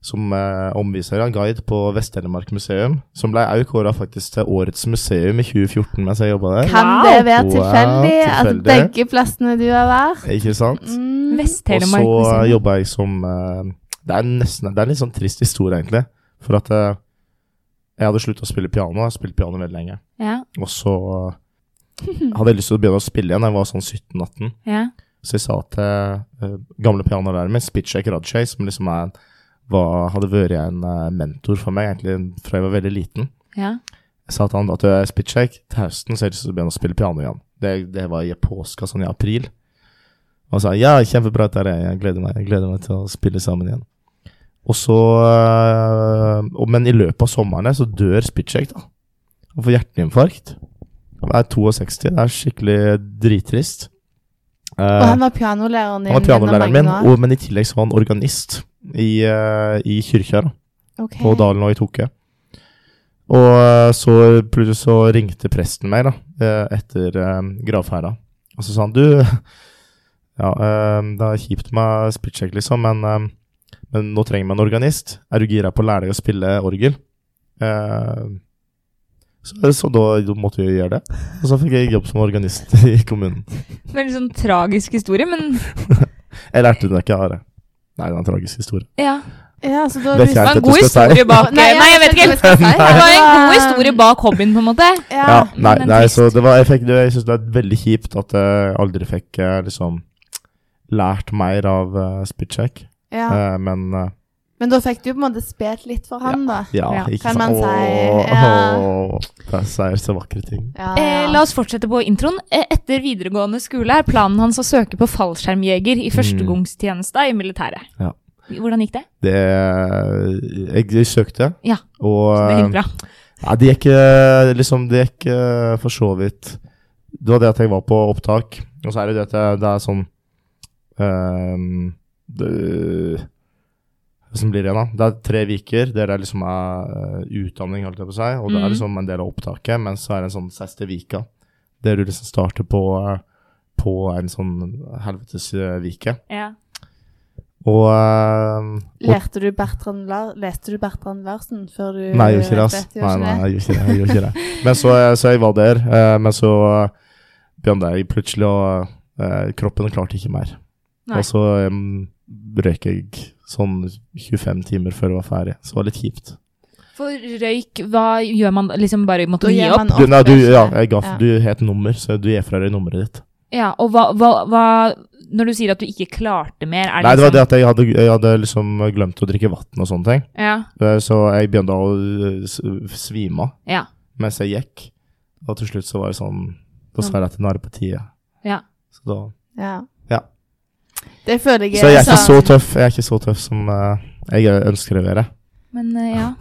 [SPEAKER 3] som eh, omviser og guide på Vest-Telemark museum, som ble òg kåra faktisk til årets museum i 2014 mens jeg jobba der.
[SPEAKER 2] Kan
[SPEAKER 1] Wow.
[SPEAKER 2] det være
[SPEAKER 3] Eh, Wow,
[SPEAKER 2] tilfeldig at
[SPEAKER 3] tilfeldig.
[SPEAKER 2] begge plassene du har vært
[SPEAKER 3] Ikke sant?
[SPEAKER 2] mm.
[SPEAKER 3] Og
[SPEAKER 1] Vest-Telemark.
[SPEAKER 3] så
[SPEAKER 1] museum.
[SPEAKER 3] jobba jeg som eh, Det er nesten Det er en litt sånn trist historie, egentlig. For at eh, jeg hadde slutta å spille piano. Jeg har spilt piano veldig lenge.
[SPEAKER 1] Ja,
[SPEAKER 3] Og så eh, hadde jeg lyst til å begynne å spille igjen. Jeg var sånn 17-18.
[SPEAKER 1] ja.
[SPEAKER 3] Så jeg sa til eh, gamle pianolæreren min, Spitshek Rajay, som liksom er, var, hadde vært en eh, mentor for meg egentlig fra jeg var veldig liten,
[SPEAKER 1] ja.
[SPEAKER 3] jeg sa til han at «Øh, Spitshek, til høsten så har jeg lyst til å begynne å spille piano igjen. Det, det var i påska, sånn i april. Og han sa ja, kjempebra, Terje, jeg gleder meg, jeg gleder meg til å spille sammen igjen. Og så, eh, og, Men i løpet av sommeren så dør Spitshek, da. Han får hjerteinfarkt. Han er 62, det er skikkelig drittrist. Eh,
[SPEAKER 2] Og han var pianolæreren din?
[SPEAKER 3] han var pianolæreren min,
[SPEAKER 2] gjennom mange år.
[SPEAKER 3] og, men i tillegg så var han organist i, eh, i kirka da,
[SPEAKER 2] Ok.
[SPEAKER 3] på Dalen og i Toke. Og eh, så plutselig så ringte presten meg da, eh, etter uh, gravferda. Og så sa han, du, [LAUGHS] ja, eh, det er kjipt med spitsjekk liksom, men, eh, men nå trenger vi en organist. Er du gira på å lære deg å spille orgel? Eh, så, så da måtte vi gjøre det. Og så fikk jeg jobb som organist [LAUGHS] i kommunen.
[SPEAKER 1] Veldig sånn tragisk historie, men
[SPEAKER 3] Jeg lærte det ikke, Are. Nei, det er en tragisk historie.
[SPEAKER 1] ja.
[SPEAKER 2] Ja, så da
[SPEAKER 3] Vet
[SPEAKER 1] Det
[SPEAKER 2] visste-
[SPEAKER 3] jeg
[SPEAKER 1] var
[SPEAKER 3] vet
[SPEAKER 1] en
[SPEAKER 3] du
[SPEAKER 1] god
[SPEAKER 3] skal si.
[SPEAKER 1] historie bak Nei, jeg vet ikke helt.
[SPEAKER 2] hva jeg skal si.
[SPEAKER 1] Det var en god
[SPEAKER 2] Ja.
[SPEAKER 1] historie bak hobbyen, på en måte.
[SPEAKER 2] Ja.
[SPEAKER 3] Ja, nei,
[SPEAKER 1] men
[SPEAKER 3] nei
[SPEAKER 1] trist.
[SPEAKER 3] så det var, jeg, fikk, det, jeg synes det er veldig kjipt at jeg aldri fikk eh, liksom lært mer av uh, spitcheck.
[SPEAKER 2] ja.
[SPEAKER 3] Eh, men eh,
[SPEAKER 2] Men da fikk du på en måte spilt litt for han, da.
[SPEAKER 3] ja,
[SPEAKER 1] Ja.
[SPEAKER 3] ikke
[SPEAKER 2] Kan man
[SPEAKER 3] sant.
[SPEAKER 2] si,
[SPEAKER 3] Åh,
[SPEAKER 2] ja.
[SPEAKER 3] åh, det sier så vakre ting.
[SPEAKER 2] Ja,
[SPEAKER 1] Eh, la oss fortsette på introen. Eh, etter videregående skole er planen hans å søke på fallskjermjeger i førstegangstjenesta i militæret.
[SPEAKER 3] Mm. Ja.
[SPEAKER 1] Hvordan gikk det?
[SPEAKER 3] Det eh, Jeg, jeg søkte,
[SPEAKER 1] Ja,
[SPEAKER 3] og
[SPEAKER 1] Så det
[SPEAKER 3] eh,
[SPEAKER 1] gikk bra.
[SPEAKER 3] Nei, det gikk eh, liksom Det gikk eh, for så vidt Det var det at jeg var på opptak, og så er det det at jeg, det er sånn ehm, det, Hvordan blir det igjen, da? Det er tre viker der det er liksom er eh, utdanning, holdt jeg på å si, og det
[SPEAKER 1] Mhm.
[SPEAKER 3] er liksom en del av opptaket, men så er det en sånn siste vika der du liksom starter på eh, på en sånn helvetes eh, vike.
[SPEAKER 1] Ja.
[SPEAKER 3] Og, eh, og
[SPEAKER 2] Lærte du Bertrand La Leste du Bertrand Larsen før du
[SPEAKER 3] Nei, jeg gjorde ikke
[SPEAKER 1] Eh,
[SPEAKER 3] det. ass.
[SPEAKER 2] Vet du,
[SPEAKER 3] Nei,
[SPEAKER 2] gjorde
[SPEAKER 3] nei,
[SPEAKER 2] ikke det?
[SPEAKER 3] jeg gjorde ikke det. Jeg gjorde ikke det. Men så, så jeg var der, eh, men så begynte jeg plutselig å eh, Kroppen klarte ikke mer.
[SPEAKER 1] Nei.
[SPEAKER 3] Og så eh, um, røyk jeg sånn 25 timer før jeg var ferdig. Så det var litt kjipt.
[SPEAKER 1] For røyk, hva gjør man da? liksom bare måtte
[SPEAKER 2] Da sånn.
[SPEAKER 1] gi
[SPEAKER 2] gir
[SPEAKER 1] opp?
[SPEAKER 2] man
[SPEAKER 3] Du, nei, du, ja,
[SPEAKER 2] kanskje.
[SPEAKER 3] jeg ga,
[SPEAKER 2] Ja.
[SPEAKER 3] du het nummer, så du gir fra deg nummeret ditt.
[SPEAKER 1] Ja, og hva, hva, hva Når du sier at du ikke klarte mer, er det liksom-
[SPEAKER 3] Nei, det var det at jeg hadde, jeg hadde liksom glemt å drikke vann og sånne ting.
[SPEAKER 1] Ja,
[SPEAKER 3] Eh, Så jeg begynte å eh, s- svime av
[SPEAKER 1] ja,
[SPEAKER 3] mens jeg gikk. Og til slutt så var jeg sånn Da sa jeg at nå er det på tide.
[SPEAKER 1] ja.
[SPEAKER 3] Så, da,
[SPEAKER 2] Ja.
[SPEAKER 3] Ja.
[SPEAKER 2] Det føler jeg
[SPEAKER 3] så jeg er ikke
[SPEAKER 2] sånn-
[SPEAKER 3] så tøff Jeg er ikke så tøff som eh, jeg ønsker å være.
[SPEAKER 1] Men eh, ja.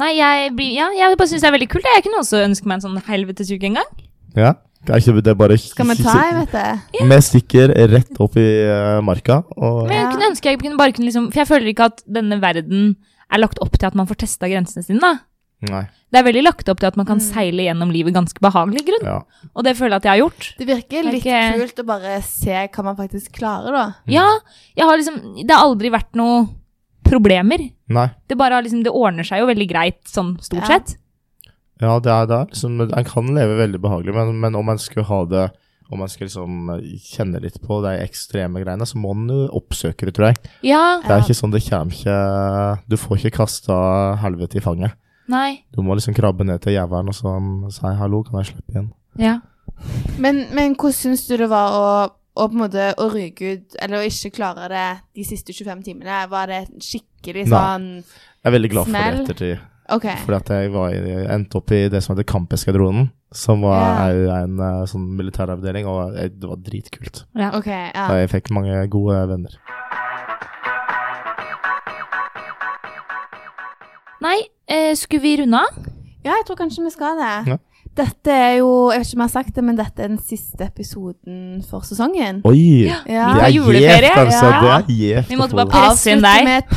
[SPEAKER 1] Nei, jeg, blir, ja, jeg bare syns det er veldig kult. jeg. Jeg kunne også ønske meg en sånn helvetesuke en gang.
[SPEAKER 3] Ja? Det er ikke det er bare
[SPEAKER 2] Skal vi ta en, vet du?
[SPEAKER 3] Vi stikker rett opp i eh, marka, og
[SPEAKER 1] Men jeg
[SPEAKER 2] Ja.
[SPEAKER 1] kunne ønske jeg kunne bare kunne liksom For jeg føler ikke at denne verden er lagt opp til at man får testa grensene sine, da.
[SPEAKER 3] Nei.
[SPEAKER 1] Det er veldig lagt opp til at man kan seile gjennom livet ganske behagelig, i grunn.
[SPEAKER 3] Ja.
[SPEAKER 1] Og det føler jeg at jeg har gjort.
[SPEAKER 2] Det virker litt
[SPEAKER 1] Ikke-
[SPEAKER 2] kult å bare se hva man faktisk klarer, da.
[SPEAKER 3] Mm.
[SPEAKER 1] Ja, jeg har liksom Det har aldri vært noe problemer.
[SPEAKER 3] Nei.
[SPEAKER 1] Det bare har liksom Det ordner seg jo veldig greit, sånn stort
[SPEAKER 2] Ja.
[SPEAKER 1] sett.
[SPEAKER 3] Ja, det er det. er Liksom, en kan leve veldig behagelig, men, men om en skulle ha det om en skal liksom kjenne litt på de ekstreme greiene, så må en jo oppsøke det, tror jeg.
[SPEAKER 1] Ja.
[SPEAKER 3] Det er
[SPEAKER 2] Ja.
[SPEAKER 3] ikke sånn, det kommer ikke Du får ikke kasta helvete i fanget.
[SPEAKER 1] Nei.
[SPEAKER 3] Du må liksom krabbe ned til jævelen og så si 'hallo, kan jeg slippe inn'?
[SPEAKER 1] Ja.
[SPEAKER 2] Men, men hvordan syns du det var å, å på en måte å ryke ut, eller å ikke klare det de siste 25 timene? Var det skikkelig
[SPEAKER 3] Nei.
[SPEAKER 2] sånn
[SPEAKER 3] Jeg er veldig glad for
[SPEAKER 2] Smell.
[SPEAKER 3] det i ettertid.
[SPEAKER 2] OK.
[SPEAKER 3] Fordi at jeg var, i- endte opp i det som heter Kampeskadronen, som var
[SPEAKER 2] Ja.
[SPEAKER 3] er jo en eh, sånn militæravdeling, og eh, det var dritkult.
[SPEAKER 2] ok, ja.
[SPEAKER 3] Og jeg fikk mange gode venner.
[SPEAKER 1] Nei, eh, skulle vi runde av?
[SPEAKER 2] ja, jeg tror kanskje vi skal det.
[SPEAKER 3] Ja.
[SPEAKER 2] Dette er jo Jeg vet ikke om jeg har sagt det, men dette er den siste episoden for sesongen.
[SPEAKER 3] Oi!
[SPEAKER 2] Ja.
[SPEAKER 1] har
[SPEAKER 3] Det er
[SPEAKER 1] juleferie.
[SPEAKER 3] gjevt, altså.
[SPEAKER 1] Ja.
[SPEAKER 3] Det er gjevt.
[SPEAKER 1] Vi måtte
[SPEAKER 3] å
[SPEAKER 1] bare
[SPEAKER 3] få det.
[SPEAKER 1] presse inn
[SPEAKER 2] Avslutte
[SPEAKER 1] deg.
[SPEAKER 2] med et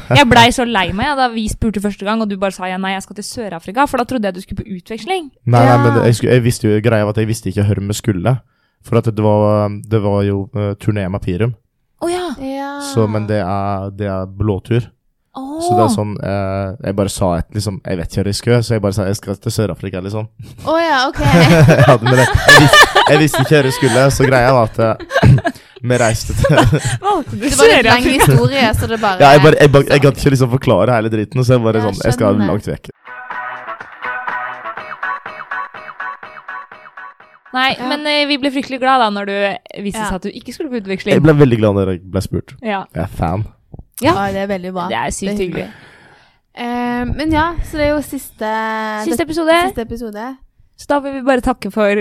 [SPEAKER 2] pang.
[SPEAKER 1] Jeg blei så lei meg ja, da vi spurte første gang, og du bare sa ja, nei, jeg skal til Sør-Afrika, for da trodde jeg du skulle på utveksling.
[SPEAKER 3] Nei, nei,
[SPEAKER 2] Ja.
[SPEAKER 3] men jeg, skulle, jeg visste jo greia var at jeg visste ikke hvor vi skulle. For at det var, det var jo eh, turné med Pirum,
[SPEAKER 1] Å ja.
[SPEAKER 2] Ja.
[SPEAKER 3] så, men det er, det er blåtur.
[SPEAKER 1] Ah. Åh.
[SPEAKER 3] Så det er sånn eh, Jeg bare sa et liksom Jeg vet ikke hvor jeg skal, så jeg bare sa jeg skal til Sør-Afrika, liksom.
[SPEAKER 2] Å ja, OK.
[SPEAKER 3] [LAUGHS] jeg, hadde, men jeg, jeg, visste, jeg visste ikke hvor jeg skulle, så greia var at eh, [CLEARS THROAT] vi reiste til
[SPEAKER 1] Valgte du
[SPEAKER 2] Det var litt lang
[SPEAKER 1] Sør-Afrika?
[SPEAKER 2] historie, så det bare
[SPEAKER 3] Ja, jeg, bare, jeg, bare, jeg gadd ikke liksom forklare hele driten, så jeg bare
[SPEAKER 2] Jeg
[SPEAKER 3] sånn Jeg skal
[SPEAKER 2] skjønner.
[SPEAKER 3] langt vekk.
[SPEAKER 1] Nei,
[SPEAKER 2] Ja.
[SPEAKER 1] men eh, vi ble fryktelig glad da når du viste
[SPEAKER 2] Ja.
[SPEAKER 1] seg at du ikke skulle på
[SPEAKER 3] Jeg
[SPEAKER 1] utveksling.
[SPEAKER 3] ble veldig glad når jeg ble spurt.
[SPEAKER 1] Ja.
[SPEAKER 3] Jeg er fan.
[SPEAKER 1] Ja.
[SPEAKER 2] Å, det er veldig bra.
[SPEAKER 1] Det er sykt hyggelig.
[SPEAKER 2] Eh, men ja, så det er jo siste
[SPEAKER 1] Siste episode.
[SPEAKER 2] siste episode.
[SPEAKER 1] Så da vil vi bare takke for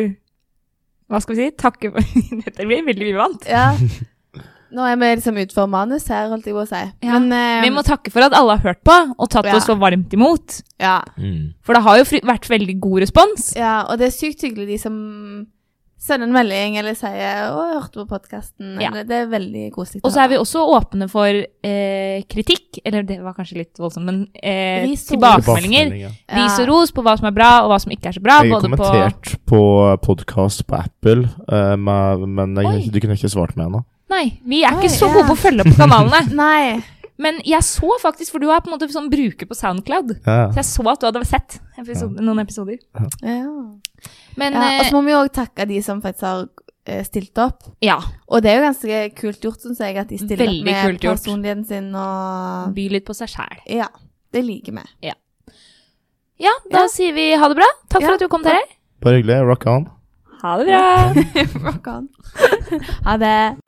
[SPEAKER 1] Hva skal vi si? Takke for [LAUGHS] Dette blir veldig uvant.
[SPEAKER 2] Ja. Nå er vi liksom ut for manus her, holdt jeg på å si.
[SPEAKER 1] Ja.
[SPEAKER 2] Men eh,
[SPEAKER 1] Vi må takke for at alle har hørt på og tatt
[SPEAKER 2] Ja.
[SPEAKER 1] oss så varmt imot.
[SPEAKER 2] ja.
[SPEAKER 1] For det har jo fry- vært veldig god respons.
[SPEAKER 2] ja, og det er sykt hyggelig de som sender en melding eller sier 'Å, jeg hørte på podkasten'.
[SPEAKER 1] Ja.
[SPEAKER 2] Det er veldig koselig.
[SPEAKER 1] Og så er vi også åpne for eh, kritikk, eller det var kanskje litt voldsomt, men eh,
[SPEAKER 2] Ris og
[SPEAKER 1] tilbakemeldinger. Ris og ros på hva som er bra, og hva som ikke er så bra.
[SPEAKER 3] Jeg har
[SPEAKER 1] både på
[SPEAKER 3] kommentert på, podkast på Apple, eh, med, men jeg,
[SPEAKER 1] Oi.
[SPEAKER 3] du kunne ikke svart meg ennå.
[SPEAKER 1] Nei, vi er
[SPEAKER 2] Oi,
[SPEAKER 1] ikke så
[SPEAKER 2] ja.
[SPEAKER 1] gode på å følge opp kanalene.
[SPEAKER 2] Nei.
[SPEAKER 1] Men jeg så faktisk, for du har på en måte sånn bruker på Soundcloud,
[SPEAKER 3] Ja.
[SPEAKER 1] så jeg så at du hadde sett episode, noen episoder.
[SPEAKER 2] Ja.
[SPEAKER 1] Men
[SPEAKER 2] ja. Og
[SPEAKER 1] eh,
[SPEAKER 2] så må vi òg takke de som faktisk har eh, stilt opp.
[SPEAKER 1] ja,
[SPEAKER 2] Og det er jo ganske kult gjort, syns jeg, at de stiller
[SPEAKER 1] Veldig
[SPEAKER 2] opp med
[SPEAKER 1] kult gjort.
[SPEAKER 2] personligheten sin og
[SPEAKER 1] by litt på seg sjæl.
[SPEAKER 2] Ja. Det liker vi.
[SPEAKER 1] Ja, da
[SPEAKER 2] Ja.
[SPEAKER 1] sier vi ha det bra. Takk
[SPEAKER 2] Ja,
[SPEAKER 1] for at du kom, Terje.
[SPEAKER 3] Bare hyggelig. Rock on.
[SPEAKER 1] Ha det bra. [LAUGHS]
[SPEAKER 2] Rock on. ha det.